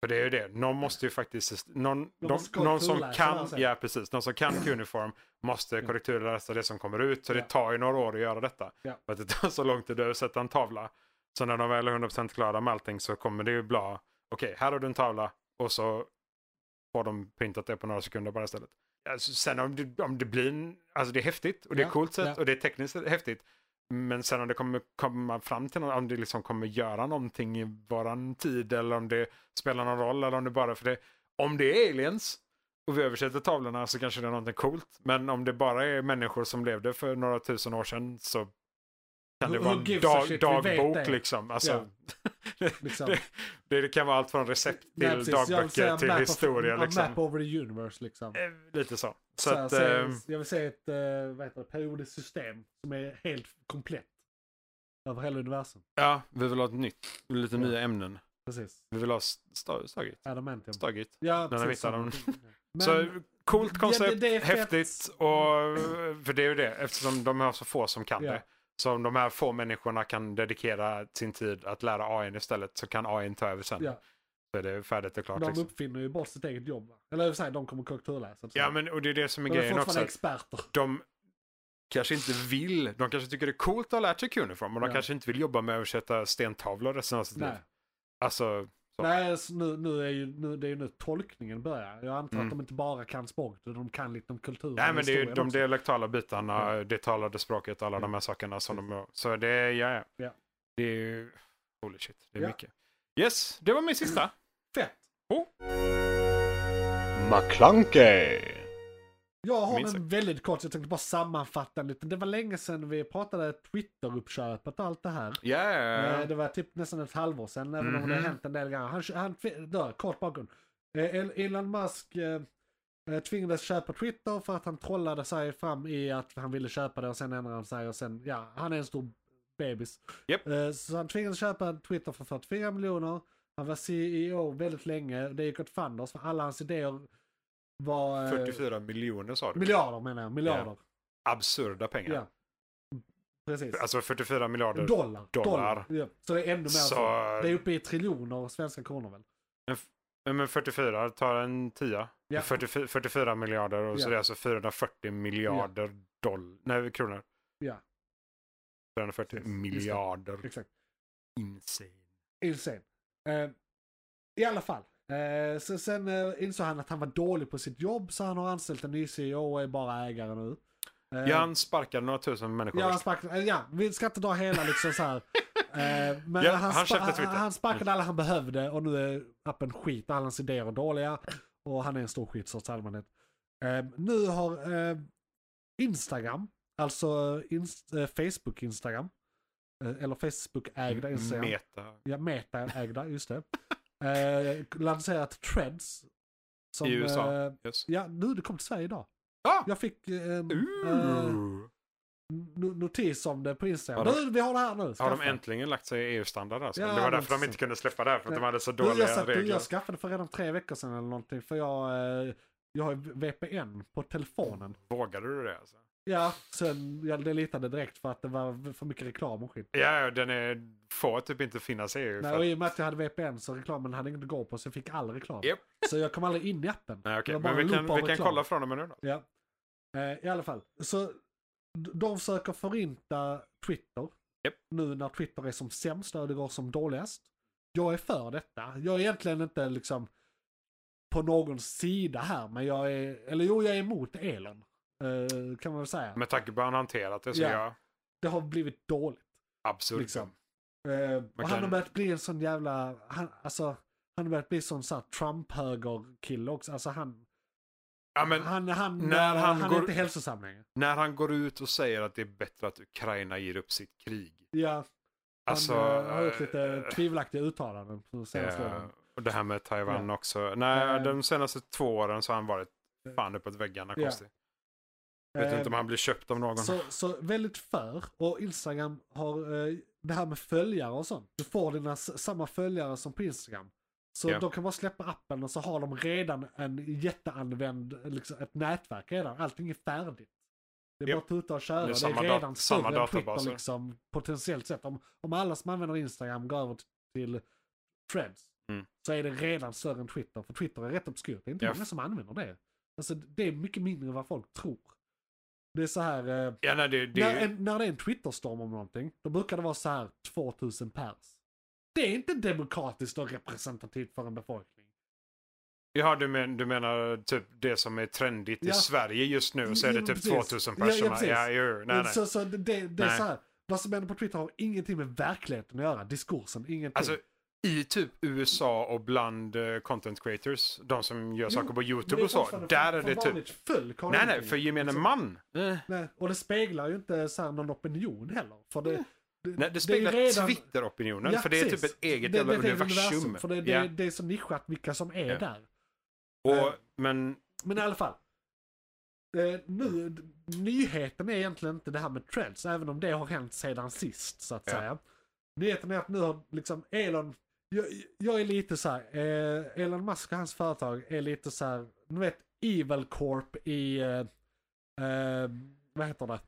[SPEAKER 4] För det är ju det. Någon måste ju faktiskt... Någon,
[SPEAKER 3] De
[SPEAKER 4] de,
[SPEAKER 3] måste korrekturläsa
[SPEAKER 4] någon som
[SPEAKER 3] det här
[SPEAKER 4] kan...
[SPEAKER 3] sen.
[SPEAKER 4] Ja, precis. Någon som kan kuniform måste korrekturläsa det som kommer ut. Så det
[SPEAKER 3] Mm. Ja.
[SPEAKER 4] tar ju några år att göra detta.
[SPEAKER 3] Ja.
[SPEAKER 4] För att det tar så lång tid att översätta en tavla. Så när de väl är 100% klara med allting så kommer det ju bla... Okej, här har du en tavla. Och så får de printat det på några sekunder bara istället. Alltså, sen om det, om det blir... en- Alltså det är häftigt och det är
[SPEAKER 3] Ja,
[SPEAKER 4] coolt sett
[SPEAKER 3] ja.
[SPEAKER 4] och det är tekniskt häftigt. Men sen om det kommer komma fram till något, om det liksom kommer göra någonting i våran tid eller om det spelar någon roll eller om det bara för det. Om det är aliens och vi översätter tavlorna så kanske det är någonting coolt. Men om det bara är människor som levde för några tusen år sedan så kan det
[SPEAKER 3] Who-
[SPEAKER 4] vara
[SPEAKER 3] who
[SPEAKER 4] en
[SPEAKER 3] gives a
[SPEAKER 4] dag,
[SPEAKER 3] shit? Vi vet
[SPEAKER 4] dagbok
[SPEAKER 3] det.
[SPEAKER 4] liksom. Alltså,
[SPEAKER 3] Liksom.
[SPEAKER 4] det, det, det kan vara allt från recept till
[SPEAKER 3] Nej, precis. Jag vill
[SPEAKER 4] dagböcker
[SPEAKER 3] säga
[SPEAKER 4] till
[SPEAKER 3] map of-
[SPEAKER 4] historia.
[SPEAKER 3] a
[SPEAKER 4] liksom.
[SPEAKER 3] Map over the universe liksom.
[SPEAKER 4] Eh, Lite så. Så,
[SPEAKER 3] Så här,
[SPEAKER 4] att,
[SPEAKER 3] så jag,
[SPEAKER 4] ehm,
[SPEAKER 3] jag vill säga ett eh, vad heter det, periodiskt system som är helt komplett. över hela universum.
[SPEAKER 4] Ja, vi vill ha ett nytt. Lite
[SPEAKER 3] Ja.
[SPEAKER 4] nya ämnen.
[SPEAKER 3] Precis.
[SPEAKER 4] Vi vill ha sta- Stargate.
[SPEAKER 3] Adamantium.
[SPEAKER 4] Stargate.
[SPEAKER 3] Ja,
[SPEAKER 4] Den
[SPEAKER 3] precis.
[SPEAKER 4] har vi hittat
[SPEAKER 3] samma ting. Men,
[SPEAKER 4] så coolt koncept,
[SPEAKER 3] Ja, det- det är fett.
[SPEAKER 4] häftigt och eh, för det är ju det eftersom de är så få som kan
[SPEAKER 3] Ja.
[SPEAKER 4] det. Så om de här få människorna kan dedikera sin tid att lära AI istället så kan AI ta över sen.
[SPEAKER 3] Ja.
[SPEAKER 4] Så är det färdigt och klart.
[SPEAKER 3] de
[SPEAKER 4] Liksom.
[SPEAKER 3] uppfinner ju bort sitt eget jobb. va? Eller i och för sig, de kommer korrekturläsa.
[SPEAKER 4] Ja men och det är det som är
[SPEAKER 3] de är
[SPEAKER 4] grejen också.
[SPEAKER 3] fortfarande
[SPEAKER 4] Att
[SPEAKER 3] experter.
[SPEAKER 4] de kanske inte vill, de kanske tycker det är coolt att ha lärt sig Cuneiform men de
[SPEAKER 3] Ja.
[SPEAKER 4] kanske inte vill jobba med att översätta stentavlor resten av sitt liv.
[SPEAKER 3] Nej.
[SPEAKER 4] Alltså, Så.
[SPEAKER 3] Nej, så nu, nu är ju, nu, det är ju nu tolkningen börjar. Jag antar att
[SPEAKER 4] Mm.
[SPEAKER 3] de inte bara kan språket, utan de kan lite om kulturen
[SPEAKER 4] nej
[SPEAKER 3] och
[SPEAKER 4] men det är ju
[SPEAKER 3] historien
[SPEAKER 4] de
[SPEAKER 3] också.
[SPEAKER 4] dialektala bitarna, det talade språket, alla
[SPEAKER 3] Ja.
[SPEAKER 4] de här sakerna som
[SPEAKER 3] Precis.
[SPEAKER 4] de... Så det är, ja,
[SPEAKER 3] Ja.
[SPEAKER 4] Det är ju... Holy shit, det är
[SPEAKER 3] Ja.
[SPEAKER 4] mycket. Yes, det var min sista.
[SPEAKER 3] Fett!
[SPEAKER 5] McClunkey.
[SPEAKER 3] Jag har
[SPEAKER 4] Minst
[SPEAKER 3] en väldigt kort, jag tänkte bara sammanfatta lite. Det var länge sedan vi pratade Twitter-uppköpet och allt det här.
[SPEAKER 4] Yeah.
[SPEAKER 3] Eh, Det var typ nästan ett halvår sedan, även om det har
[SPEAKER 4] Mhm.
[SPEAKER 3] hänt en del grejer. Han, han tvi- då, kort bakgrund. Eh, El- Elon Musk eh, eh, tvingades köpa Twitter för att han trollade sig fram i att han ville köpa det och sen ändrade han sig och sen, ja, han är en stor bebis.
[SPEAKER 4] Japp.
[SPEAKER 3] Eh, Så han tvingades köpa Twitter för 44 miljoner. Han var CEO väldigt länge. Det gick åt fanders för alla hans idéer var... eh,
[SPEAKER 4] 44 miljoner sa du.
[SPEAKER 3] Miljarder menar jag, miljarder.
[SPEAKER 4] Absurda pengar.
[SPEAKER 3] Ja. Precis.
[SPEAKER 4] Alltså 44 miljarder.
[SPEAKER 3] dollar.
[SPEAKER 4] dollar.
[SPEAKER 3] Ja. Så det är ännu mer. Så...
[SPEAKER 4] Så-
[SPEAKER 3] Det är uppe i triljoner svenska kronor väl?
[SPEAKER 4] Ja, Men 44 tar en tia.
[SPEAKER 3] Ja.
[SPEAKER 4] 44, 44 miljarder och
[SPEAKER 3] Ja.
[SPEAKER 4] så det är alltså 440 miljarder dollar. Nej, kronor.
[SPEAKER 3] Ja.
[SPEAKER 4] 440
[SPEAKER 3] Precis, just det.
[SPEAKER 4] miljarder.
[SPEAKER 3] Exakt.
[SPEAKER 4] Insane.
[SPEAKER 3] Insane. Eh, I alla fall. Eh, så sen eh, insåg han att han var dålig på sitt jobb så han har anställt en ny CEO och är bara ägare nu. Eh,
[SPEAKER 4] Ja, han sparkade några tusen människor.
[SPEAKER 3] Ja, han sparkade, eh, ja, vi ska inte dra hela liksom så här. Eh, men
[SPEAKER 4] Ja,
[SPEAKER 3] han, spa-
[SPEAKER 4] han köpte
[SPEAKER 3] han,
[SPEAKER 4] Twitter.
[SPEAKER 3] han sparkade alla han behövde och nu är appen skit, alla hans idéer är dåliga och han är en stor skitsorts i allmänhet. Eh, nu har eh, Instagram, alltså inst- eh, Facebook-Instagram, eh, eller Facebook-ägda Instagram.
[SPEAKER 4] Meta.
[SPEAKER 3] Ja, Meta-ägda, just det. Eh, lanserat Threads. Som,
[SPEAKER 4] I USA.
[SPEAKER 3] eh,
[SPEAKER 4] Yes.
[SPEAKER 3] ja, nu det kom till Sverige idag.
[SPEAKER 4] Ah!
[SPEAKER 3] Jag fick eh, en eh,
[SPEAKER 4] Ooh.
[SPEAKER 3] no- notis om det på Instagram.
[SPEAKER 4] Har de-
[SPEAKER 3] nu, vi har det här nu.
[SPEAKER 4] Har de
[SPEAKER 3] Skaffa.
[SPEAKER 4] äntligen lagt sig i EU-standard alltså?
[SPEAKER 3] Ja,
[SPEAKER 4] det var
[SPEAKER 3] men
[SPEAKER 4] därför de
[SPEAKER 3] så.
[SPEAKER 4] inte kunde släppa det här, för att de
[SPEAKER 3] Nej.
[SPEAKER 4] hade så
[SPEAKER 3] Du, jag,
[SPEAKER 4] dåliga
[SPEAKER 3] satt- du,
[SPEAKER 4] regler.
[SPEAKER 3] jag skaffade för redan tre veckor sedan eller någonting för jag, eh, jag har ju VPN på telefonen.
[SPEAKER 4] Vågade du det alltså?
[SPEAKER 3] Ja, sen jag deletade direkt för att det var för mycket reklam och skit.
[SPEAKER 4] Ja, ja, den är, får typ inte finnas i EU.
[SPEAKER 3] Nej,
[SPEAKER 4] för
[SPEAKER 3] och
[SPEAKER 4] att-
[SPEAKER 3] i och med att jag hade VPN så reklamen hade inget att gå på så jag fick all reklam.
[SPEAKER 4] Japp.
[SPEAKER 3] Så jag kom aldrig in i appen.
[SPEAKER 4] Nej, okej.
[SPEAKER 3] Det var bara
[SPEAKER 4] Men vi
[SPEAKER 3] en loop
[SPEAKER 4] kan,
[SPEAKER 3] av
[SPEAKER 4] vi kan
[SPEAKER 3] reklam.
[SPEAKER 4] kolla från dem nu då.
[SPEAKER 3] Ja. Eh, I alla fall, så d- de försöker förinta Twitter.
[SPEAKER 4] Japp.
[SPEAKER 3] Nu när Twitter är som sämst och det går som dåligast. Jag är för detta. Jag är egentligen inte liksom på någon sida här, men jag är, eller jo, jag är emot Elon. Eh, kan man väl säga.
[SPEAKER 4] Med tanke på hur han hanterat det så
[SPEAKER 3] Ja.
[SPEAKER 4] är jag
[SPEAKER 3] Det har blivit dåligt.
[SPEAKER 4] absurd.
[SPEAKER 3] Liksom. Eh, och han
[SPEAKER 4] kan-
[SPEAKER 3] har börjat bli en sån jävla, han, alltså, han har börjat bli sån sån här Trump-höger-kille också. Alltså han,
[SPEAKER 4] Ja, men
[SPEAKER 3] han, han,
[SPEAKER 4] när han
[SPEAKER 3] han är
[SPEAKER 4] går-
[SPEAKER 3] inte hälsosam längre.
[SPEAKER 4] när han går ut och säger att det är bättre att Ukraina ger upp sitt krig.
[SPEAKER 3] Ja, Han
[SPEAKER 4] Alltså,
[SPEAKER 3] eh, har gjort
[SPEAKER 4] eh,
[SPEAKER 3] lite tvivelaktiga uttalanden på senaste
[SPEAKER 4] eh,
[SPEAKER 3] åren.
[SPEAKER 4] och det här med Taiwan också. Nej,
[SPEAKER 3] Eh.
[SPEAKER 4] de senaste två åren så har han varit fan uppåt väggarna
[SPEAKER 3] Ja.
[SPEAKER 4] konstigt. Vet
[SPEAKER 3] Eh,
[SPEAKER 4] inte om han blir köpt av någon.
[SPEAKER 3] så, så väldigt för, och Instagram har eh, det här med följare och sånt. Du får dina s- samma följare som på Instagram. Så
[SPEAKER 4] Ja.
[SPEAKER 3] de kan bara släppa appen och så har de redan en jätteanvänd, liksom, ett nätverk redan. Allting är färdigt. Det är
[SPEAKER 4] Ja.
[SPEAKER 3] bara att tuta och köra.
[SPEAKER 4] Det är
[SPEAKER 3] Det är,
[SPEAKER 4] samma
[SPEAKER 3] redan
[SPEAKER 4] dat-
[SPEAKER 3] större
[SPEAKER 4] samma
[SPEAKER 3] än Twitter
[SPEAKER 4] databaser.
[SPEAKER 3] liksom, potentiellt sett. Om, om alla som använder Instagram går över t- till Threads
[SPEAKER 4] Mm.
[SPEAKER 3] så är det redan större än Twitter. För Twitter är rätt obskurt. Det är inte
[SPEAKER 4] Ja.
[SPEAKER 3] många som använder det. Alltså det är mycket mindre än vad folk tror. Det är så här... Eh,
[SPEAKER 4] ja, nej, det, det,
[SPEAKER 3] när, en, när det är en Twitterstorm om någonting, då brukar det vara så här 2000 pers. Det är inte demokratiskt och representativt för en befolkning.
[SPEAKER 4] Ja, du, men, du menar typ det som är trendigt
[SPEAKER 3] Ja.
[SPEAKER 4] i Sverige just nu så är det
[SPEAKER 3] Ja,
[SPEAKER 4] typ
[SPEAKER 3] precis.
[SPEAKER 4] 2000
[SPEAKER 3] Ja, ja,
[SPEAKER 4] personer.
[SPEAKER 3] precis.
[SPEAKER 4] Ja, jo, nej, nej.
[SPEAKER 3] Så, så det, det, det är
[SPEAKER 4] Nej.
[SPEAKER 3] så här, vad som händer på Twitter har ingenting med verkligheten att göra, diskursen, ingenting.
[SPEAKER 4] Alltså, i typ USA och bland eh, content creators, de som gör saker på
[SPEAKER 3] Men
[SPEAKER 4] YouTube och så,
[SPEAKER 3] fortfarande
[SPEAKER 4] där
[SPEAKER 3] för-
[SPEAKER 4] är
[SPEAKER 3] för
[SPEAKER 4] det typ...
[SPEAKER 3] vanligt folk har
[SPEAKER 4] Nej, nej,
[SPEAKER 3] ingenting.
[SPEAKER 4] för gemene
[SPEAKER 3] Liksom.
[SPEAKER 4] man. Eh,
[SPEAKER 3] Nej, och det speglar ju inte så här någon opinion heller. För det,
[SPEAKER 4] Nej, det
[SPEAKER 3] är
[SPEAKER 4] speglar
[SPEAKER 3] redan-
[SPEAKER 4] Twitter-opinionen,
[SPEAKER 3] Ja,
[SPEAKER 4] för det är typ
[SPEAKER 3] precis.
[SPEAKER 4] ett eget
[SPEAKER 3] Det-
[SPEAKER 4] jävla
[SPEAKER 3] det är ett eget
[SPEAKER 4] universum.
[SPEAKER 3] För det, det,
[SPEAKER 4] ja.
[SPEAKER 3] det är så nischat vilka som är
[SPEAKER 4] Ja.
[SPEAKER 3] där.
[SPEAKER 4] och, men
[SPEAKER 3] Men i alla fall. Eh, nu, d- nyheten är egentligen inte det här med trends, även om det har hänt sedan sist så att
[SPEAKER 4] Ja.
[SPEAKER 3] säga. Nyheten är att nu har liksom Elon, jag, jag är lite så här, eh, Elon Musk och hans företag är lite så här, nu vet Evil Corp i, eh, eh, vad heter det?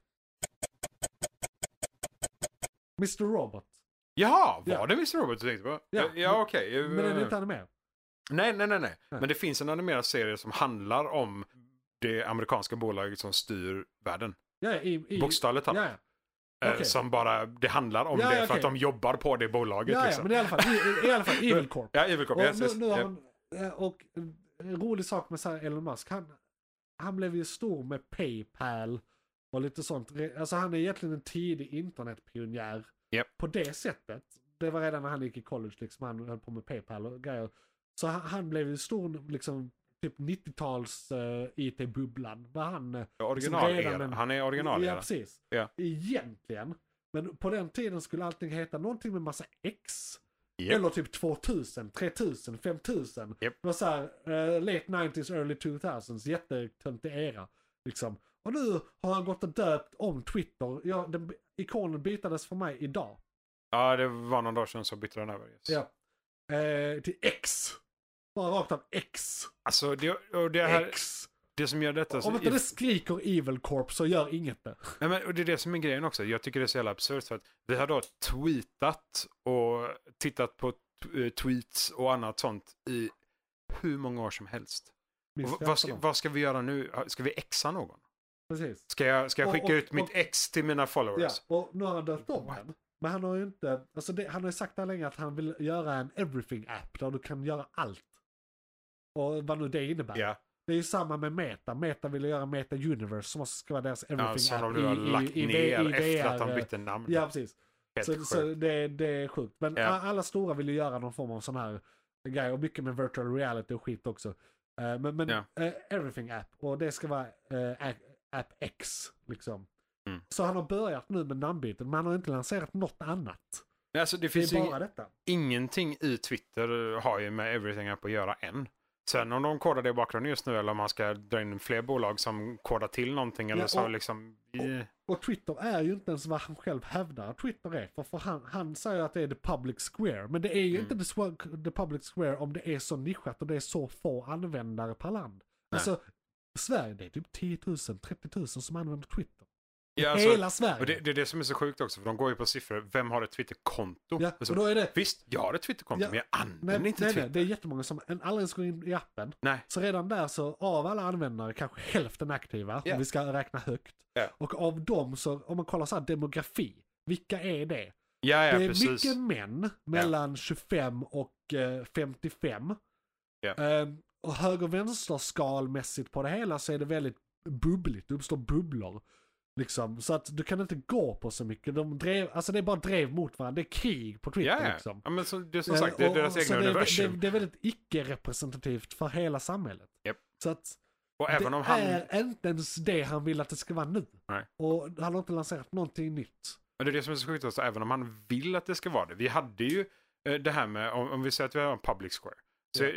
[SPEAKER 3] Mr. Robot.
[SPEAKER 4] Jaha, var
[SPEAKER 3] Ja.
[SPEAKER 4] det Mr. Robot du tänkte på?
[SPEAKER 3] Ja.
[SPEAKER 4] Ja, ja okej.
[SPEAKER 3] Men den
[SPEAKER 4] Eh.
[SPEAKER 3] är inte animerad.
[SPEAKER 4] Nej, nej, nej, nej.
[SPEAKER 3] Nej.
[SPEAKER 4] Men det finns en animerad serie som handlar om det amerikanska bolaget som styr världen.
[SPEAKER 3] Ja, i, i,
[SPEAKER 4] Bokstavligt
[SPEAKER 3] ja,
[SPEAKER 4] talat.
[SPEAKER 3] ja.
[SPEAKER 4] Eh,
[SPEAKER 3] okej.
[SPEAKER 4] Som bara, det handlar om
[SPEAKER 3] Ja,
[SPEAKER 4] det
[SPEAKER 3] ja,
[SPEAKER 4] för att
[SPEAKER 3] okej.
[SPEAKER 4] de jobbar på det bolaget.
[SPEAKER 3] Ja, ja,
[SPEAKER 4] liksom.
[SPEAKER 3] men i alla fall, i, i, i alla fall Evil Corp.
[SPEAKER 4] Ja, Evil Corp.
[SPEAKER 3] Och,
[SPEAKER 4] Yes,
[SPEAKER 3] nu,
[SPEAKER 4] yes.
[SPEAKER 3] nu har
[SPEAKER 4] Ja.
[SPEAKER 3] han, eh, och en rolig sak med så här Elon Musk, han, han blev ju stor med Paypal och lite sånt. Re- Alltså han är egentligen en tidig internetpionjär
[SPEAKER 4] Japp.
[SPEAKER 3] på det sättet. Det var redan när han gick i college, liksom, han höll på med Paypal och grejer. Så han, han blev ju stor, liksom, typ 90-tals eh, IT-bubblan. Var han, eh,
[SPEAKER 4] Original
[SPEAKER 3] redan
[SPEAKER 4] era.
[SPEAKER 3] en-
[SPEAKER 4] Han är original
[SPEAKER 3] ja
[SPEAKER 4] era.
[SPEAKER 3] precis.
[SPEAKER 4] Ja.
[SPEAKER 3] Egentligen. Men på den tiden skulle allting heta någonting med massa X.
[SPEAKER 4] Japp.
[SPEAKER 3] Eller typ 2000, 3000, 5000.
[SPEAKER 4] Japp.
[SPEAKER 3] Det var så här, eh, late 90s, early 2000s, jättetöntig era. Liksom. Och nu har han gått och döpt om Twitter. Ja, den, ikonen bytades för mig idag.
[SPEAKER 4] Ja, det var någon dag sedan så bytte den över. Yes.
[SPEAKER 3] Ja. Eh, till X. Bara rakt av X.
[SPEAKER 4] Alltså, det, och det, här,
[SPEAKER 3] X.
[SPEAKER 4] det som gör detta...
[SPEAKER 3] Om inte det skriker Evil Corp så gör inget det.
[SPEAKER 4] Nej, men, och det är det som är grejen också. Jag tycker det är så jävla absurt för att vi har då tweetat och tittat på t- eh, tweets och annat sånt i hur många år som helst. Och
[SPEAKER 3] Minst
[SPEAKER 4] v- vad, ska,
[SPEAKER 3] 15 år.
[SPEAKER 4] vad ska vi göra nu? Ska vi exa någon?
[SPEAKER 3] Precis.
[SPEAKER 4] Ska jag, ska jag
[SPEAKER 3] Och-
[SPEAKER 4] skicka
[SPEAKER 3] och-
[SPEAKER 4] ut mitt
[SPEAKER 3] och-
[SPEAKER 4] ex till mina followers?
[SPEAKER 3] Ja, och nu har han döpt om
[SPEAKER 4] What?
[SPEAKER 3] den. Men han har ju inte, alltså det, han har ju sagt där länge att han vill göra en everything-app där du kan göra allt. Och vad nu det innebär.
[SPEAKER 4] Ja.
[SPEAKER 3] Det är ju samma med Meta. Meta vill göra Meta Universe som också ska vara deras
[SPEAKER 4] Ja, som
[SPEAKER 3] everything-app
[SPEAKER 4] de nu har lagt ner efter att
[SPEAKER 3] VR,
[SPEAKER 4] de bytte namn.
[SPEAKER 3] Ja, precis.
[SPEAKER 4] Helt
[SPEAKER 3] Så,
[SPEAKER 4] sjukt.
[SPEAKER 3] så det, det är sjukt. Men
[SPEAKER 4] Ja.
[SPEAKER 3] a- alla stora vill ju göra någon form av sån här grej. Och mycket med virtual reality och skit också. Eh, Men, men
[SPEAKER 4] Ja.
[SPEAKER 3] eh, everything app. Och det ska vara eh, app- app X liksom.
[SPEAKER 4] Mm.
[SPEAKER 3] Så han har börjat nu med namnbyten. Men han har inte lanserat något annat.
[SPEAKER 4] Nej, alltså, det
[SPEAKER 3] Det
[SPEAKER 4] finns
[SPEAKER 3] är
[SPEAKER 4] ju
[SPEAKER 3] bara detta.
[SPEAKER 4] ingenting i Twitter har ju med Everything App att göra än. Sen om de kodar det i bakgrunden just nu eller om man ska dra in fler bolag som kodar till någonting eller
[SPEAKER 3] Ja,
[SPEAKER 4] så
[SPEAKER 3] och-
[SPEAKER 4] liksom... eh,
[SPEAKER 3] Och Twitter är ju inte ens vad han själv hävdar att Twitter är. För, för han, han säger att det är the public square. Men det är ju
[SPEAKER 4] Mm.
[SPEAKER 3] inte the, swa- the public square om det är så nischat och det är så få användare per land.
[SPEAKER 4] Nej.
[SPEAKER 3] Alltså, Sverige det är typ 10 000, 30 000 som använder Twitter.
[SPEAKER 4] ja, alltså-
[SPEAKER 3] Hela Sverige.
[SPEAKER 4] Och det, det är det som är så sjukt också, för de går ju på siffror. Vem har ett Twitterkonto?
[SPEAKER 3] ja,
[SPEAKER 4] Alltså,
[SPEAKER 3] och då är det...
[SPEAKER 4] Visst, jag har ett Twitterkonto,
[SPEAKER 3] Ja.
[SPEAKER 4] men jag använder
[SPEAKER 3] Nej, nej,
[SPEAKER 4] inte
[SPEAKER 3] nej,
[SPEAKER 4] Twitter.
[SPEAKER 3] det är jättemånga som en- aldrig ens går in i appen.
[SPEAKER 4] Nej.
[SPEAKER 3] Så redan där så av alla användare kanske hälften aktiva,
[SPEAKER 4] Ja.
[SPEAKER 3] om vi ska räkna högt.
[SPEAKER 4] Ja.
[SPEAKER 3] Och av dem så, om man kollar så här demografi, vilka är det?
[SPEAKER 4] Ja, ja,
[SPEAKER 3] det är
[SPEAKER 4] precis.
[SPEAKER 3] mycket män mellan 25 och eh, 55.
[SPEAKER 4] Ja.
[SPEAKER 3] Ehm, och höger och vänster skalmässigt på det hela så är det väldigt bubbligt, det uppstår bubblor. Liksom. Så att du kan inte gå på så mycket. De drev, alltså det är bara drev mot varandra, det är krig på Twitter
[SPEAKER 4] Ja, ja.
[SPEAKER 3] liksom.
[SPEAKER 4] ja, men så, det är som sagt, det
[SPEAKER 3] Eh,
[SPEAKER 4] är
[SPEAKER 3] och-
[SPEAKER 4] deras
[SPEAKER 3] och så
[SPEAKER 4] egna
[SPEAKER 3] det, är-
[SPEAKER 4] universum.
[SPEAKER 3] Det, det är väldigt icke-representativt för hela samhället.
[SPEAKER 4] Japp.
[SPEAKER 3] Så att
[SPEAKER 4] och även
[SPEAKER 3] det
[SPEAKER 4] om han...
[SPEAKER 3] är inte ens det han vill att det ska vara nu.
[SPEAKER 4] Nej.
[SPEAKER 3] Och han har inte lanserat någonting nytt.
[SPEAKER 4] Men det är det som är så sjukt också, även om han vill att det ska vara det. Vi hade ju eh, det här med, om, om vi säger att vi har en public square. Så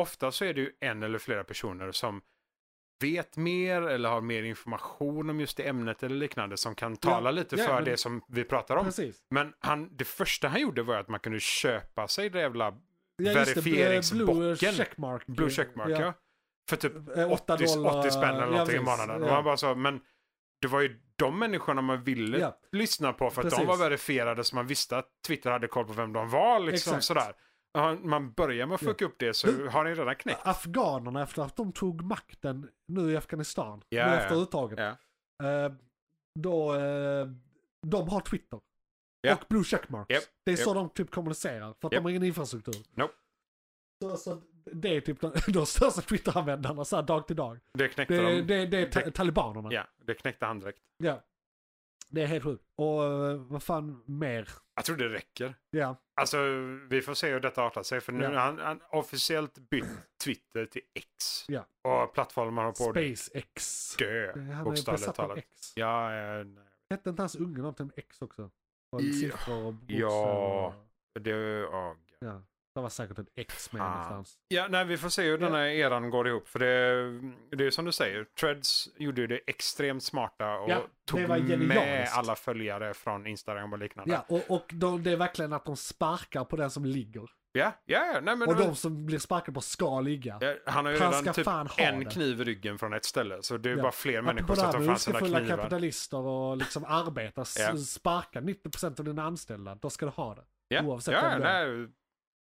[SPEAKER 4] ofta så är det ju en eller flera personer som vet mer eller har mer information om just det ämnet eller liknande som kan tala lite
[SPEAKER 3] ja,
[SPEAKER 4] för
[SPEAKER 3] men-
[SPEAKER 4] det som vi pratar om.
[SPEAKER 3] Precis.
[SPEAKER 4] Men han, det första han gjorde var att man kunde köpa sig det jävla
[SPEAKER 3] just det, Blue
[SPEAKER 4] verifieringsbocken.
[SPEAKER 3] checkmark.
[SPEAKER 4] blue checkmark. Ja. För typ
[SPEAKER 3] Eh,
[SPEAKER 4] 80,
[SPEAKER 3] åtta dollar,
[SPEAKER 4] 80 spänn
[SPEAKER 3] ja,
[SPEAKER 4] eller någonting i
[SPEAKER 3] precis.
[SPEAKER 4] månaden. Och
[SPEAKER 3] Ja.
[SPEAKER 4] man bara så, men det var ju de människorna man ville
[SPEAKER 3] Ja.
[SPEAKER 4] lyssna på för att de
[SPEAKER 3] Precis.
[SPEAKER 4] var verifierade så man visste att Twitter hade koll på vem de var. Liksom,
[SPEAKER 3] Exakt.
[SPEAKER 4] sådär. Och han- Man börjar med att fucka upp det så
[SPEAKER 3] Du-
[SPEAKER 4] har ni redan knäckt.
[SPEAKER 3] Afghanerna efter att de tog makten nu i Afghanistan,
[SPEAKER 4] Ja,
[SPEAKER 3] nu
[SPEAKER 4] ja.
[SPEAKER 3] efter uttaget. Eh, då, eh, de har Twitter.
[SPEAKER 4] Ja.
[SPEAKER 3] Och blue checkmarks.
[SPEAKER 4] Japp,
[SPEAKER 3] Det är så de typ kommunicerar, för att
[SPEAKER 4] Japp.
[SPEAKER 3] de har ingen infrastruktur.
[SPEAKER 4] Nope.
[SPEAKER 3] Så, så det är typ de, de största Twitter-användarna så här dag till dag.
[SPEAKER 4] Det knäckte
[SPEAKER 3] Det,
[SPEAKER 4] de.
[SPEAKER 3] det, det är ta-
[SPEAKER 4] det-
[SPEAKER 3] talibanerna.
[SPEAKER 4] Ja, det knäckte han direkt.
[SPEAKER 3] Ja. Det är helt sjukt. Och eh, vad fan mer?
[SPEAKER 4] Jag tror det räcker.
[SPEAKER 3] Ja.
[SPEAKER 4] Alltså, vi får se hur detta artar sig. För nu
[SPEAKER 3] Ja.
[SPEAKER 4] har han, han officiellt bytt Twitter till X.
[SPEAKER 3] Ja.
[SPEAKER 4] Och plattformen har på att
[SPEAKER 3] SpaceX.
[SPEAKER 4] dö,
[SPEAKER 3] Det- Han är ju
[SPEAKER 4] bokstavligt
[SPEAKER 3] besatt av
[SPEAKER 4] talat.
[SPEAKER 3] X.
[SPEAKER 4] Ja, eh, nej.
[SPEAKER 3] Hette inte hans unge någonting med X också? Och
[SPEAKER 4] Ja.
[SPEAKER 3] siffror och bokstäver.
[SPEAKER 4] Ja. det, ja,
[SPEAKER 3] Ja. Det var säkert ett X med
[SPEAKER 4] Fan.
[SPEAKER 3] någonstans.
[SPEAKER 4] Ja, nej, vi får se hur den här eran går ihop. För det, det är ju som du säger, Treads gjorde ju det extremt smarta och
[SPEAKER 3] Ja,
[SPEAKER 4] tog
[SPEAKER 3] det var
[SPEAKER 4] med
[SPEAKER 3] genialiskt.
[SPEAKER 4] alla följare från Instagram och liknande.
[SPEAKER 3] Ja, och, och de, det är verkligen att de sparkar på den som ligger.
[SPEAKER 4] ja, ja, ja nej, men
[SPEAKER 3] och de som blir sparkade på ska ligga.
[SPEAKER 4] ja, han har ju
[SPEAKER 3] Han
[SPEAKER 4] redan
[SPEAKER 3] ska
[SPEAKER 4] typ
[SPEAKER 3] fan ha
[SPEAKER 4] en
[SPEAKER 3] det.
[SPEAKER 4] kniv i ryggen från ett ställe. Så det är
[SPEAKER 3] Ja.
[SPEAKER 4] bara fler
[SPEAKER 3] Apropå
[SPEAKER 4] människor som
[SPEAKER 3] det här
[SPEAKER 4] tar
[SPEAKER 3] med
[SPEAKER 4] fram sina
[SPEAKER 3] ondskefulla
[SPEAKER 4] knivar.
[SPEAKER 3] kapitalister och liksom arbetare,
[SPEAKER 4] Ja.
[SPEAKER 3] s- sparkar 90% av dina anställda, då ska du ha det.
[SPEAKER 4] Ja,
[SPEAKER 3] Oavsett
[SPEAKER 4] ja,
[SPEAKER 3] vem det är.
[SPEAKER 4] nej.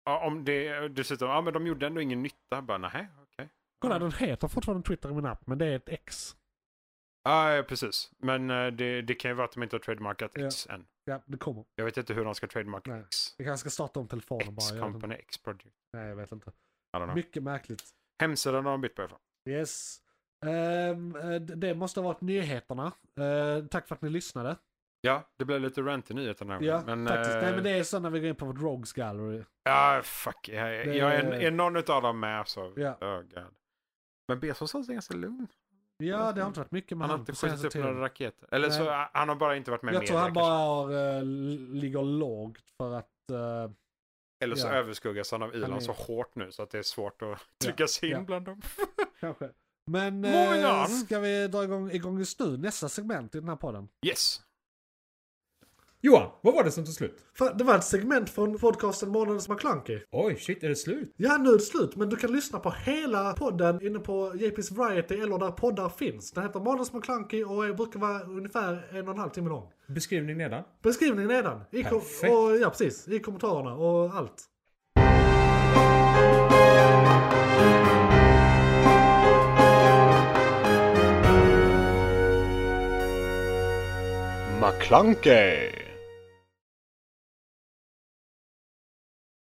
[SPEAKER 4] Ja, om det dessutom, ja men de gjorde ändå ingen nytta. Bara nej, okej.
[SPEAKER 3] Kolla, den heter fortfarande Twitter i min app, men det är ett X.
[SPEAKER 4] Ja, ja, precis. Men eh, det, det kan ju vara att de inte har trademarkat
[SPEAKER 3] Ja.
[SPEAKER 4] X än.
[SPEAKER 3] Ja, det kommer.
[SPEAKER 4] Jag vet inte hur de ska trademarka
[SPEAKER 3] Nej.
[SPEAKER 4] X.
[SPEAKER 3] Vi kanske ska starta om telefonen bara.
[SPEAKER 4] X
[SPEAKER 3] jag vet inte.
[SPEAKER 4] Company, X Project.
[SPEAKER 3] Nej, jag vet inte.
[SPEAKER 4] I don't know.
[SPEAKER 3] Mycket märkligt.
[SPEAKER 4] Hemsidan har de bytt på i alla fall.
[SPEAKER 3] Yes. Ehm, eh, d- det måste ha varit nyheterna. Ehm, tack för att ni lyssnade.
[SPEAKER 4] Ja, det blev lite rant i nyheterna. här,
[SPEAKER 3] Ja,
[SPEAKER 4] men,
[SPEAKER 3] faktiskt.
[SPEAKER 4] eh,
[SPEAKER 3] Nej, men det är så när vi går in på vårt Rogues Gallery.
[SPEAKER 4] Ja, fuck. Jag, jag,
[SPEAKER 3] Det-
[SPEAKER 4] jag är, är någon av dem med så...
[SPEAKER 3] Ja.
[SPEAKER 4] Oh, God. Men Bezos har varit ganska lugn.
[SPEAKER 3] Ja, det har inte varit mycket med
[SPEAKER 4] Han har
[SPEAKER 3] han
[SPEAKER 4] inte
[SPEAKER 3] på
[SPEAKER 4] skjutit
[SPEAKER 3] senaste
[SPEAKER 4] upp några
[SPEAKER 3] tiden.
[SPEAKER 4] raketer. Eller så, han har bara inte varit med
[SPEAKER 3] Jag
[SPEAKER 4] i
[SPEAKER 3] tror
[SPEAKER 4] media,
[SPEAKER 3] han bara har, eh, l- ligger lågt för att... eh,
[SPEAKER 4] kanske. Eller så
[SPEAKER 3] ja.
[SPEAKER 4] överskuggas han av Elon
[SPEAKER 3] är-
[SPEAKER 4] så hårt nu så att det är svårt att trycka sig in
[SPEAKER 3] ja.
[SPEAKER 4] bland dem.
[SPEAKER 3] kanske. Men
[SPEAKER 4] Movian!
[SPEAKER 3] eh, ska vi dra igång, igång just nu nästa segment i den här podden?
[SPEAKER 4] Yes!
[SPEAKER 2] Johan, vad var det som tog slut?
[SPEAKER 1] Fan, Det var ett segment från podcasten Månadens McKlunky.
[SPEAKER 2] Oj, shit, är det slut?
[SPEAKER 1] Ja, nu är det slut, men du kan lyssna på hela podden inne på JP's Variety eller där poddar finns. Den heter Månadens McKlunky och är- brukar vara ungefär en och en halv timme lång.
[SPEAKER 2] Beskrivning nedan.
[SPEAKER 1] Beskrivningen nedan. I kom-
[SPEAKER 2] Perfekt.
[SPEAKER 1] och, ja, precis. I kommentarerna och allt.
[SPEAKER 5] McClunkey.